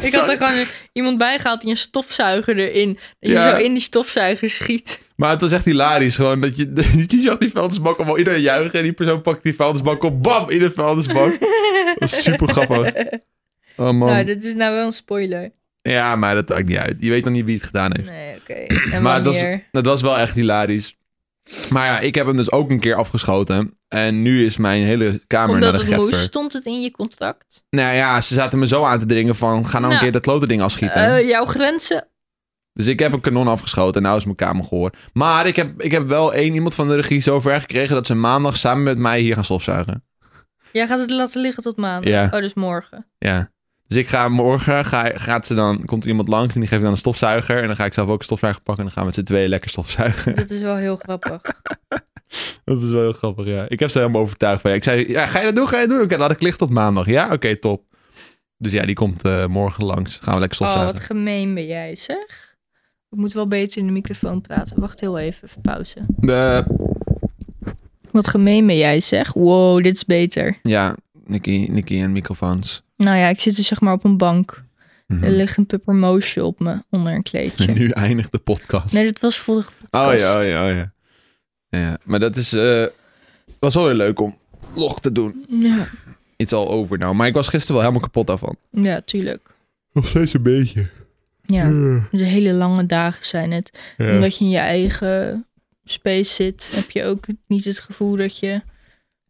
ik had Sorry. er gewoon iemand bij gehaald die een stofzuiger erin. Dat Ja. je zo in die stofzuiger schiet. Maar het was echt hilarisch. Gewoon dat je, je zag die vuilnisbak allemaal iedereen juichen. En die persoon pakt die vuilnisbak op. Bam! In de vuilnisbak. Dat was super grappig. Oh man. Nou, dit is nou wel een spoiler. Ja, maar dat maakt niet uit. Je weet nog niet wie het gedaan heeft. Nee, oké. En Maar het was, wanneer? het was wel echt hilarisch. Maar ja, ik heb hem dus ook een keer afgeschoten. En nu is mijn hele kamer Omdat naar de het moest, getver. stond het in je contract? Nou ja, ze zaten me zo aan te dringen van... Ga nou, een Nou, keer dat klote ding afschieten. Eh, jouw grenzen? Dus ik heb een kanon afgeschoten en nou is mijn kamer gehoord. Maar ik heb, ik heb wel één iemand van de regie zo ver gekregen... dat ze maandag samen met mij hier gaan stofzuigen. Jij gaat het laten liggen tot maandag. Ja. Oh, dus morgen. Ja. Dus ik ga morgen, ga, gaat ze dan, komt er iemand langs en die geeft dan een stofzuiger. En dan ga ik zelf ook een stofzuiger pakken en dan gaan we met z'n tweeën lekker stofzuigen. Dat is wel heel grappig. Dat is wel heel grappig, ja. Ik heb ze helemaal overtuigd van. ja, Ik zei, ja, ga je dat doen? Ga je dat doen? Oké, laat ik licht tot maandag. Ja, oké, top. Dus ja, die komt eh, morgen langs. Gaan we lekker Oh, stofzuigen. wat gemeen ben jij, zeg. Ik moet wel beter in de microfoon praten. Wacht heel even, even pauze. De- Wat gemeen ben jij, zeg. Wow, dit is beter. ja, Nicky, Nicky en microfoons. Nou ja, ik zit dus zeg maar op een bank. Mhm. Er ligt een puppermoosje op me, onder een kleedje. En nu eindigt de podcast. Nee, dat was vorige podcast. oh ja, oh ja, oh ja. Ja, maar dat is... eh, was wel weer leuk om log te doen. Ja, It's all over nou. Maar ik was gisteren wel helemaal kapot daarvan. ja tuurlijk. Nog steeds een beetje. Hmm. Ja, de hele lange dagen zijn het. Omdat je in je eigen space zit, heb je ook niet het gevoel dat je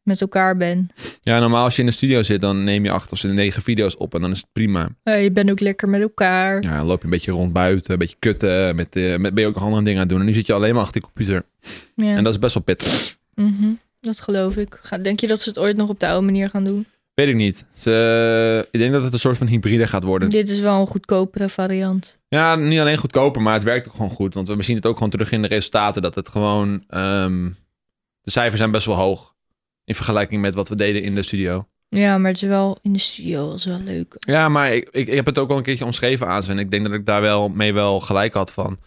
met elkaar bent. Ja, normaal als je in de studio zit, dan neem je acht of negen video's op en dan is het prima. Eh, je bent ook lekker met elkaar. Ja, dan loop je een beetje rond buiten, een beetje kutten, met, eh, met, ben je ook andere dingen aan het doen. En nu zit je alleen maar achter de computer. Ja. En dat is best wel pittig. Mhm, Dat geloof ik. Ga- Denk je dat ze het ooit nog op de oude manier gaan Oh, doen? Weet ik niet. Ze- ik denk dat het een soort van hybride gaat worden. Dit is wel een goedkopere variant. Ja, niet alleen goedkoper, maar het werkt ook gewoon goed. Want we zien het ook gewoon terug in de resultaten, dat het gewoon... ehm, de cijfers zijn best wel hoog. In vergelijking met wat we deden in de studio. Ja, maar het is wel in de studio was wel leuk. Ja, maar ik, ik, ik heb het ook al een keertje omschreven aan ze. En ik denk dat ik daar wel mee wel gelijk had van.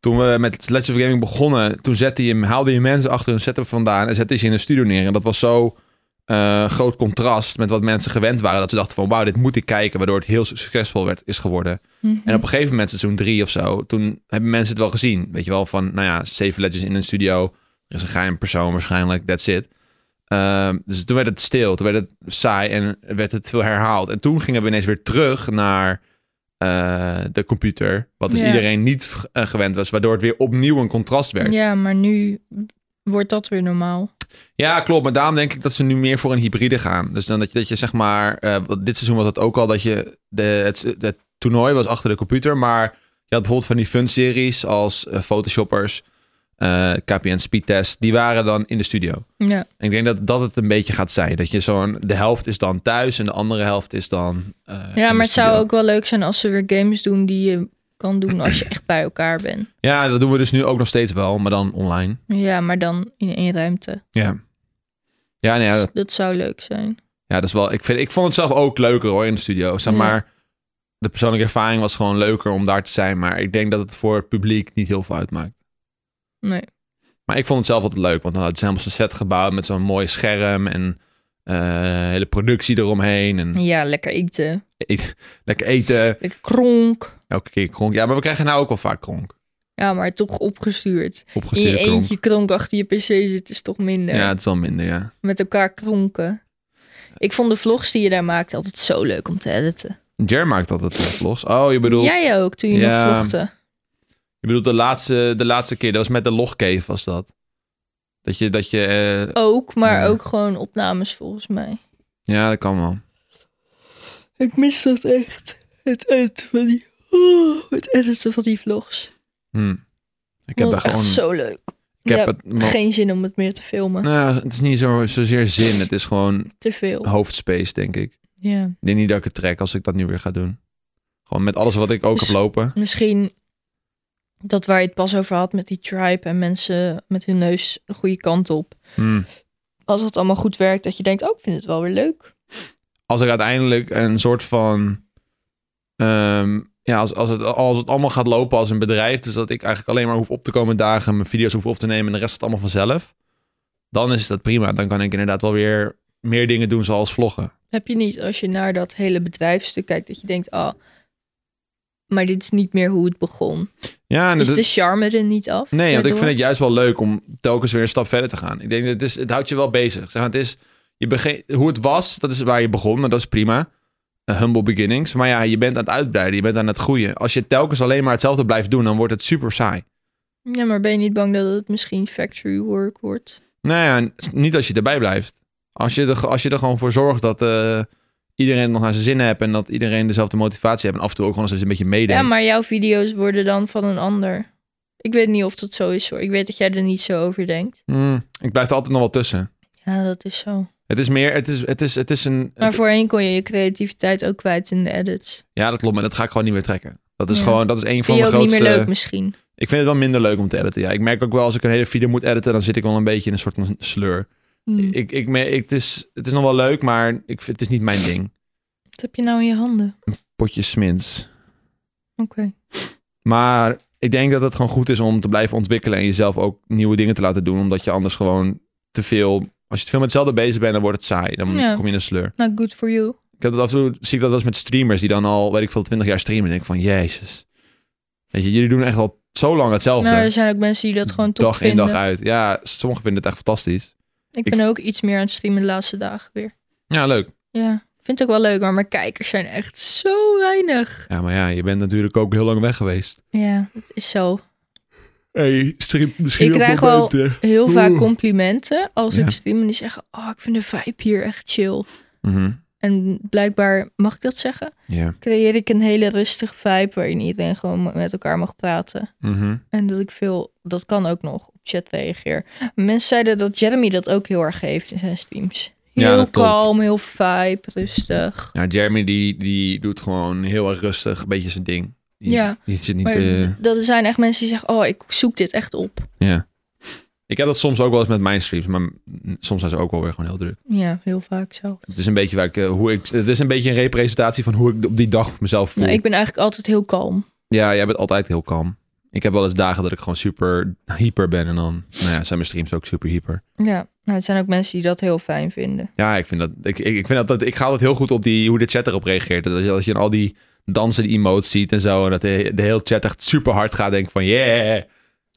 Toen we met Let's of Gaming begonnen, toen zette je, hem- haalde je mensen achter hun setup vandaan en zette je ze in een studio neer. En dat was zo eh, groot contrast met wat mensen gewend waren. Dat ze dachten van wauw, dit moet ik kijken. Waardoor het heel succesvol werd, is geworden. Mhm. En op een gegeven moment, seizoen drie of zo, toen hebben mensen het wel gezien. Weet je wel, van nou ja, zeven Legends in een studio. Er is een geheim persoon waarschijnlijk, that's it. Ehm, dus toen werd het stil, toen werd het saai en werd het veel herhaald. En toen gingen we ineens weer terug naar eh, de computer. Wat dus Ja. iedereen niet v- eh, gewend was, waardoor het weer opnieuw een contrast werd. Ja. Ja, maar nu wordt dat weer normaal. klopt. Maar daarom denk ik dat ze nu meer voor een hybride gaan. Dus dan dat je, dat je zeg maar, eh, want dit seizoen was dat ook al, dat je de, het, het toernooi was achter de computer. Maar je had bijvoorbeeld van die fun-series als eh, Photoshoppers, eh, KPN Speedtest. Die waren dan in de studio. Ja. En ik denk dat dat het een beetje gaat zijn. Dat je zo'n... De helft is dan thuis en de andere helft is dan... eh, in de ja, maar het zou studio. ook wel leuk zijn als ze weer games doen die je kan doen als je echt bij elkaar bent. Ja, dat doen we dus nu ook nog steeds wel, maar dan online. Ja, maar dan in één ruimte. Ja. Ja, nee, ja, dat, Dus dat zou leuk zijn. ja, dat is wel... Ik, vind, ik vond het zelf ook leuker hoor, in de studio. Zeg Ja. maar, de persoonlijke ervaring was gewoon leuker om daar te zijn. Maar ik denk dat het voor het publiek niet heel veel uitmaakt. Nee. Maar ik vond het zelf altijd leuk, want dan had ze helemaal zijn set gebouwd met zo'n mooi scherm en eh, hele productie eromheen. En Ja, lekker eten. eet- lekker eten, Lekker kronk. elke keer kronk. Ja, maar we krijgen nou ook wel vaak kronk. Ja, maar toch opgestuurd. In Opgestuurde je kronk. eentje kronk achter je pc zitten is toch minder. Ja, het is wel minder, ja. Met elkaar kronken. Ik vond de vlogs die je daar maakte altijd zo leuk om te editen. Jer maakt altijd wel vlogs. Oh, je bedoelt, Jij ook, toen je Ja. nog vlogde. je bedoelt de, laatste, de laatste keer, dat was met de logcave was dat. Dat je, dat je eh, Ook, maar Ja. ook gewoon opnames volgens mij. ja, dat kan wel. Ik mis dat echt. Het editen van die, Oh, het editen van die vlogs. Hm. Ik heb daar echt gewoon, zo leuk. ik heb Ja, het, maar- Geen zin om het meer te filmen. nou, het is niet zo, zozeer zin, het is gewoon Te veel. Oh. hoofdspace, denk ik. Ja. Ik denk niet dat ik het trek als ik dat nu weer ga doen. Gewoon met alles wat ik ook Dus- heb lopen. Misschien dat waar je het pas over had met die tribe en mensen met hun neus de goede kant op. Hmm. Als het allemaal goed werkt, dat je denkt, oh, ik vind het wel weer leuk. Als ik uiteindelijk een soort van... ehm, ja, als, als, het, als het allemaal gaat lopen als een bedrijf... dus dat ik eigenlijk alleen maar hoef op te komen dagen... mijn video's hoef op te nemen en de rest is het allemaal vanzelf... dan is dat prima. Dan kan ik inderdaad wel weer meer dingen doen zoals vloggen. Heb je niet als je naar dat hele bedrijfstuk kijkt, dat je denkt, ah, maar dit is niet meer hoe het begon. Ja, en Is dat- de charme er niet af? Nee, want ik daardoor? vind het juist wel leuk om telkens weer een stap verder te gaan. Ik denk dat het, is, het houdt je wel bezig. Zeg maar, het is, je bege- hoe het was, dat is waar je begon, maar dat is prima. Een humble beginnings. Maar ja, je bent aan het uitbreiden, je bent aan het groeien. Als je telkens alleen maar hetzelfde blijft doen, dan wordt het super saai. Ja, maar ben je niet bang dat het misschien factory work wordt? Nou ja, niet als je erbij blijft. Als je er, als je er gewoon voor zorgt dat eh, iedereen het nog naar zijn zin heeft en dat iedereen dezelfde motivatie heeft en af en toe ook gewoon eens een beetje meedenkt. Ja, maar jouw video's worden dan van een ander. Ik weet niet of dat zo is hoor. Ik weet dat jij er niet zo over denkt. Hmm, ik blijf er altijd nog wel tussen. Ja, dat is zo. Het is meer, het is, het is, het is een... Maar voorheen kon je je creativiteit ook kwijt in de edits. Ja, dat klopt, maar dat ga ik gewoon niet meer trekken. Dat is Ja. gewoon, dat is een van Vind je mijn ook grootste... niet meer leuk misschien. Ik vind het wel minder leuk om te editen. Ja. Ik merk ook wel als ik een hele video moet editen, dan zit ik wel een beetje in een soort van sleur. Hm. Ik, ik, mer- ik, het, is, het is nog wel leuk, maar ik, vind- het is niet mijn ding. Wat heb je nou in je handen? Potjes smins. Oké. Maar ik denk dat het gewoon goed is om te blijven ontwikkelen en jezelf ook nieuwe dingen te laten doen. Omdat je anders gewoon te veel. Als je te veel met hetzelfde bezig bent, dan wordt het saai. Dan Ja. kom je in een sleur. Nou, good for you. Ik heb dat af en toe, zie ik dat wel eens met streamers die dan al, weet ik veel, 20 jaar streamen. En denk ik van, jezus. Weet je, jullie doen echt al zo lang hetzelfde. Nou, er zijn ook mensen die dat gewoon top eh, dag in vinden. dag uit. Ja, sommigen vinden het echt fantastisch. Ik Ik- ben ook iets meer aan het streamen de laatste dagen weer. Ja, leuk. Ja, ik vind het ook wel leuk, maar mijn kijkers zijn echt zo weinig. Ja, maar ja, je bent natuurlijk ook heel lang weg geweest. Ja, dat is zo. hey, stream misschien Ik ook krijg wel wel- beter. Heel Oeh. vaak complimenten als Ja. ik stream en die zeggen, oh, ik vind de vibe hier echt chill. Mhm, En blijkbaar, mag ik dat zeggen, Ja. creëer ik een hele rustige vibe waarin iedereen gewoon met elkaar mag praten. Mhm. En dat ik veel, dat kan ook nog, op chat reageer. Mensen zeiden dat Jeremy dat ook heel erg heeft in zijn streams. Ja, Heel dat klopt. kalm, heel vibe, rustig. Nou, Jeremy die, die doet gewoon heel erg rustig een beetje zijn ding. Die, Ja. Die zit niet... Maar eh, d- dat er zijn echt mensen die zeggen, oh, ik zoek dit echt op. ja. Ik heb dat soms ook wel eens met mijn streams, maar mm, soms zijn ze ook wel weer gewoon heel druk. Ja, heel vaak zo. Het is een beetje, waar ik, eh, hoe ik, het is een, beetje een representatie van hoe ik op die dag mezelf voel. Nou, ik ben eigenlijk altijd heel kalm. Ja, jij bent altijd heel kalm. Ik heb wel eens dagen dat ik gewoon super hyper ben en dan nou ja, zijn mijn streams ook super hyper. Ja, nou, het zijn ook mensen die dat heel fijn vinden. Ja, ik vind dat. Ik, ik, ik, vind dat, dat ik ga altijd heel goed op die, hoe de chat erop reageert. Dat als je, als je in al die dansen, die emotes ziet en zo. En dat de, de hele chat echt super hard gaat. Denk ik van yeah,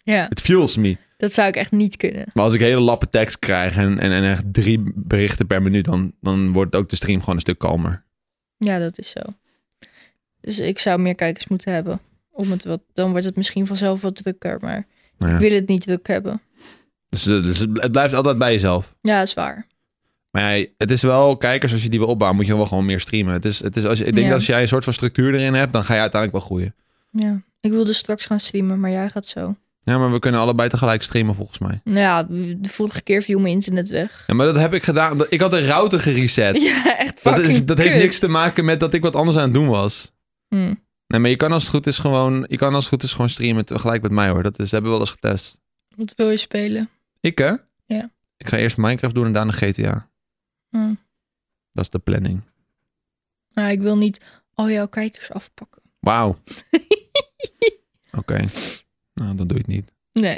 Ja, it fuels me. dat zou ik echt niet kunnen. Maar als ik hele lappe tekst krijg en, en, en echt drie berichten per minuut, dan, dan wordt ook de stream gewoon een stuk kalmer. Ja, dat is zo. Dus ik zou meer kijkers moeten hebben. Om het wat, dan wordt het misschien vanzelf wat drukker, maar Nou ja. ik wil het niet druk hebben. Dus, eh, dus het het blijft altijd bij jezelf. Ja, dat is waar. Maar ja, het is wel, kijkers, als je die wil opbouwen, moet je wel gewoon meer streamen. Het is, het is, als je, ik denk Ja. dat als jij een soort van structuur erin hebt, dan ga je uiteindelijk wel groeien. Ja. Ik wilde straks gaan streamen, maar jij gaat zo. Ja, maar we kunnen allebei tegelijk streamen volgens mij. Nou ja, de vorige keer viel mijn internet weg. Ja, maar dat heb ik gedaan. dat- Ik had een router gereset. Ja, echt dat fucking is, dat heeft kut. niks te maken met dat ik wat anders aan het doen was. Hm. Nee, maar je kan als het goed is gewoon, je kan als het goed is gewoon streamen tegelijk met mij hoor. Dat is, dat hebben we wel eens getest. Wat wil je spelen? Ik hè? Ja. Ik ga eerst Minecraft doen en daarna GTA. Hm. Dat is de planning. Nou, ik wil niet al jouw kijkers afpakken. Wauw. Oké. Nou, dan doe je het niet. Nee.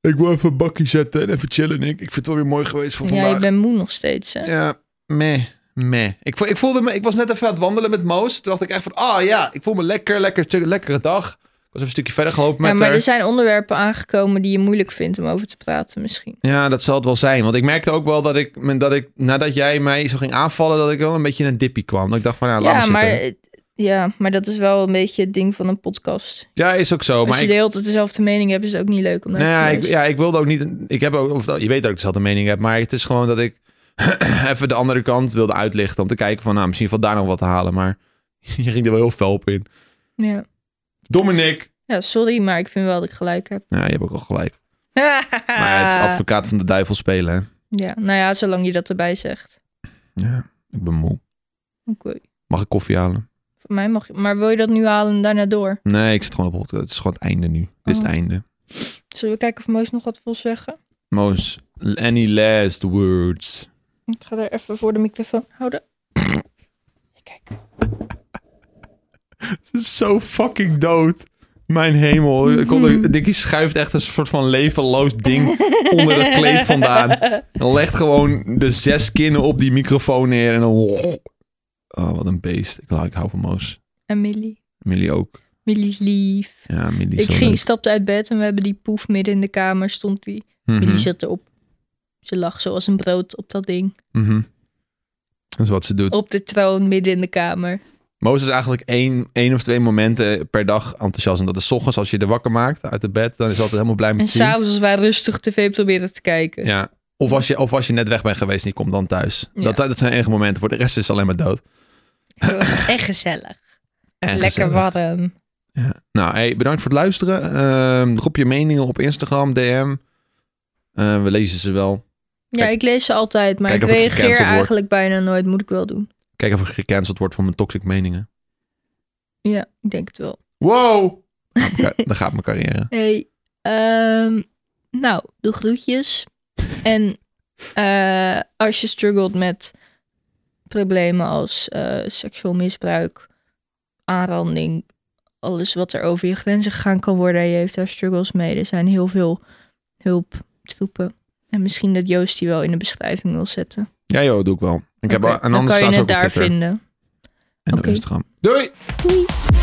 Ik wil even een bakkie zetten en even chillen, Nick. Ik vind het wel weer mooi geweest voor Ja, ik ben moe nog steeds, hè? Ja, meh, meh. Ik, vo- ik voelde me, ik was net even aan het wandelen met Moos. Toen dacht ik echt van, ah ja, ik voel me lekker, lekker, tu- lekkere dag. Ik was even een stukje verder gelopen Ja, met maar haar. er zijn onderwerpen aangekomen die je moeilijk vindt om over te praten misschien. Ja, dat zal het wel zijn. Want ik merkte ook wel dat ik, me- dat ik nadat jij mij zo ging aanvallen, dat ik wel een beetje in een dippie kwam. Dat ik dacht van, nou, laat ja, me maar, zitten. eh, ja, maar dat is wel een beetje het ding van een podcast. Ja, is ook zo. Als Oh, Maar je ik, de hele tijd dezelfde mening hebt, is het ook niet leuk om naar nou te ja, ik, luisteren. ja, ik wilde ook niet, ik heb ook, of, je weet dat ik dezelfde mening heb, maar het is gewoon dat ik even de andere kant wilde uitlichten. Om te kijken van, nou, misschien valt daar nog wat te halen. Maar je ging er wel heel fel op in. Ja. Dominic! Ja, sorry, maar ik vind wel dat ik gelijk heb. Ja, je hebt ook al gelijk. Maar het is Ah. advocaat van de duivel spelen, hè? ja, nou ja, zolang je dat erbij zegt. Ja, ik ben moe. Oké. Mag ik koffie halen? Voor mij mag je... Maar wil je dat nu halen en daarna door? Nee, ik zit gewoon op hol- Het is gewoon het einde nu. Dit is het Oh. einde. Zullen we kijken of Moos nog wat wil zeggen? Moos, any last words? Ik ga er even voor de microfoon houden. Ja, Kijk. Het is zo fucking dood. Mijn hemel. Ik kon Mhm. er- Dickie schuift echt een soort van levenloos ding onder het kleed vandaan. En legt gewoon de zes kinnen op die microfoon neer en dan... Oh, wat een beest. Ik, ik hou van Moos. En Millie. Millie ook. Millie is lief. Ja, Millie is Ik zo ging, leuk. stapte uit bed en we hebben die poef midden in de kamer, stond die. Mhm, Millie zat erop. Ze lag zoals een brood op dat ding. mhm. Dat is wat ze doet. Op de troon midden in de kamer. Moos is eigenlijk één, één of twee momenten per dag enthousiast. En dat is 's ochtends als je er wakker maakt uit het bed. Dan is hij altijd helemaal blij En met je. s'avonds als wij rustig tv proberen te kijken. Ja. Of als, je, of als je net weg bent geweest en je komt dan thuis. Ja. Dat, dat zijn enige momenten. Voor de rest is het alleen maar dood. Het was echt gezellig. En Lekker gezellig. warm. Ja. Nou, hey, bedankt voor het luisteren. Ehm drop je meningen op Instagram, DM. Eh, we lezen ze wel. Ja, Kijk- ik lees ze altijd, maar kijk ik of ik reageer gecanceld word. eigenlijk bijna nooit. Moet ik wel doen. Kijk of ik gecanceld word voor mijn toxic meningen. Ja, ik denk het wel. Wow! gaat mijn ca- Nou, dan gaat mijn carrière. Hey, ehm, nou, doe groetjes. en eh, als je struggelt met problemen als eh, seksueel misbruik, aanranding, alles wat er over je grenzen gegaan kan worden, en je heeft daar struggles mee. Er zijn heel veel hulptroepen. En misschien dat Joost die wel in de beschrijving wil zetten. Ja joh, doe ik wel. Ik heb Oké, wel- en dan anders kan staan je ze het ook op daar Twitter vinden. en op Oké. Instagram. Doei! Doei!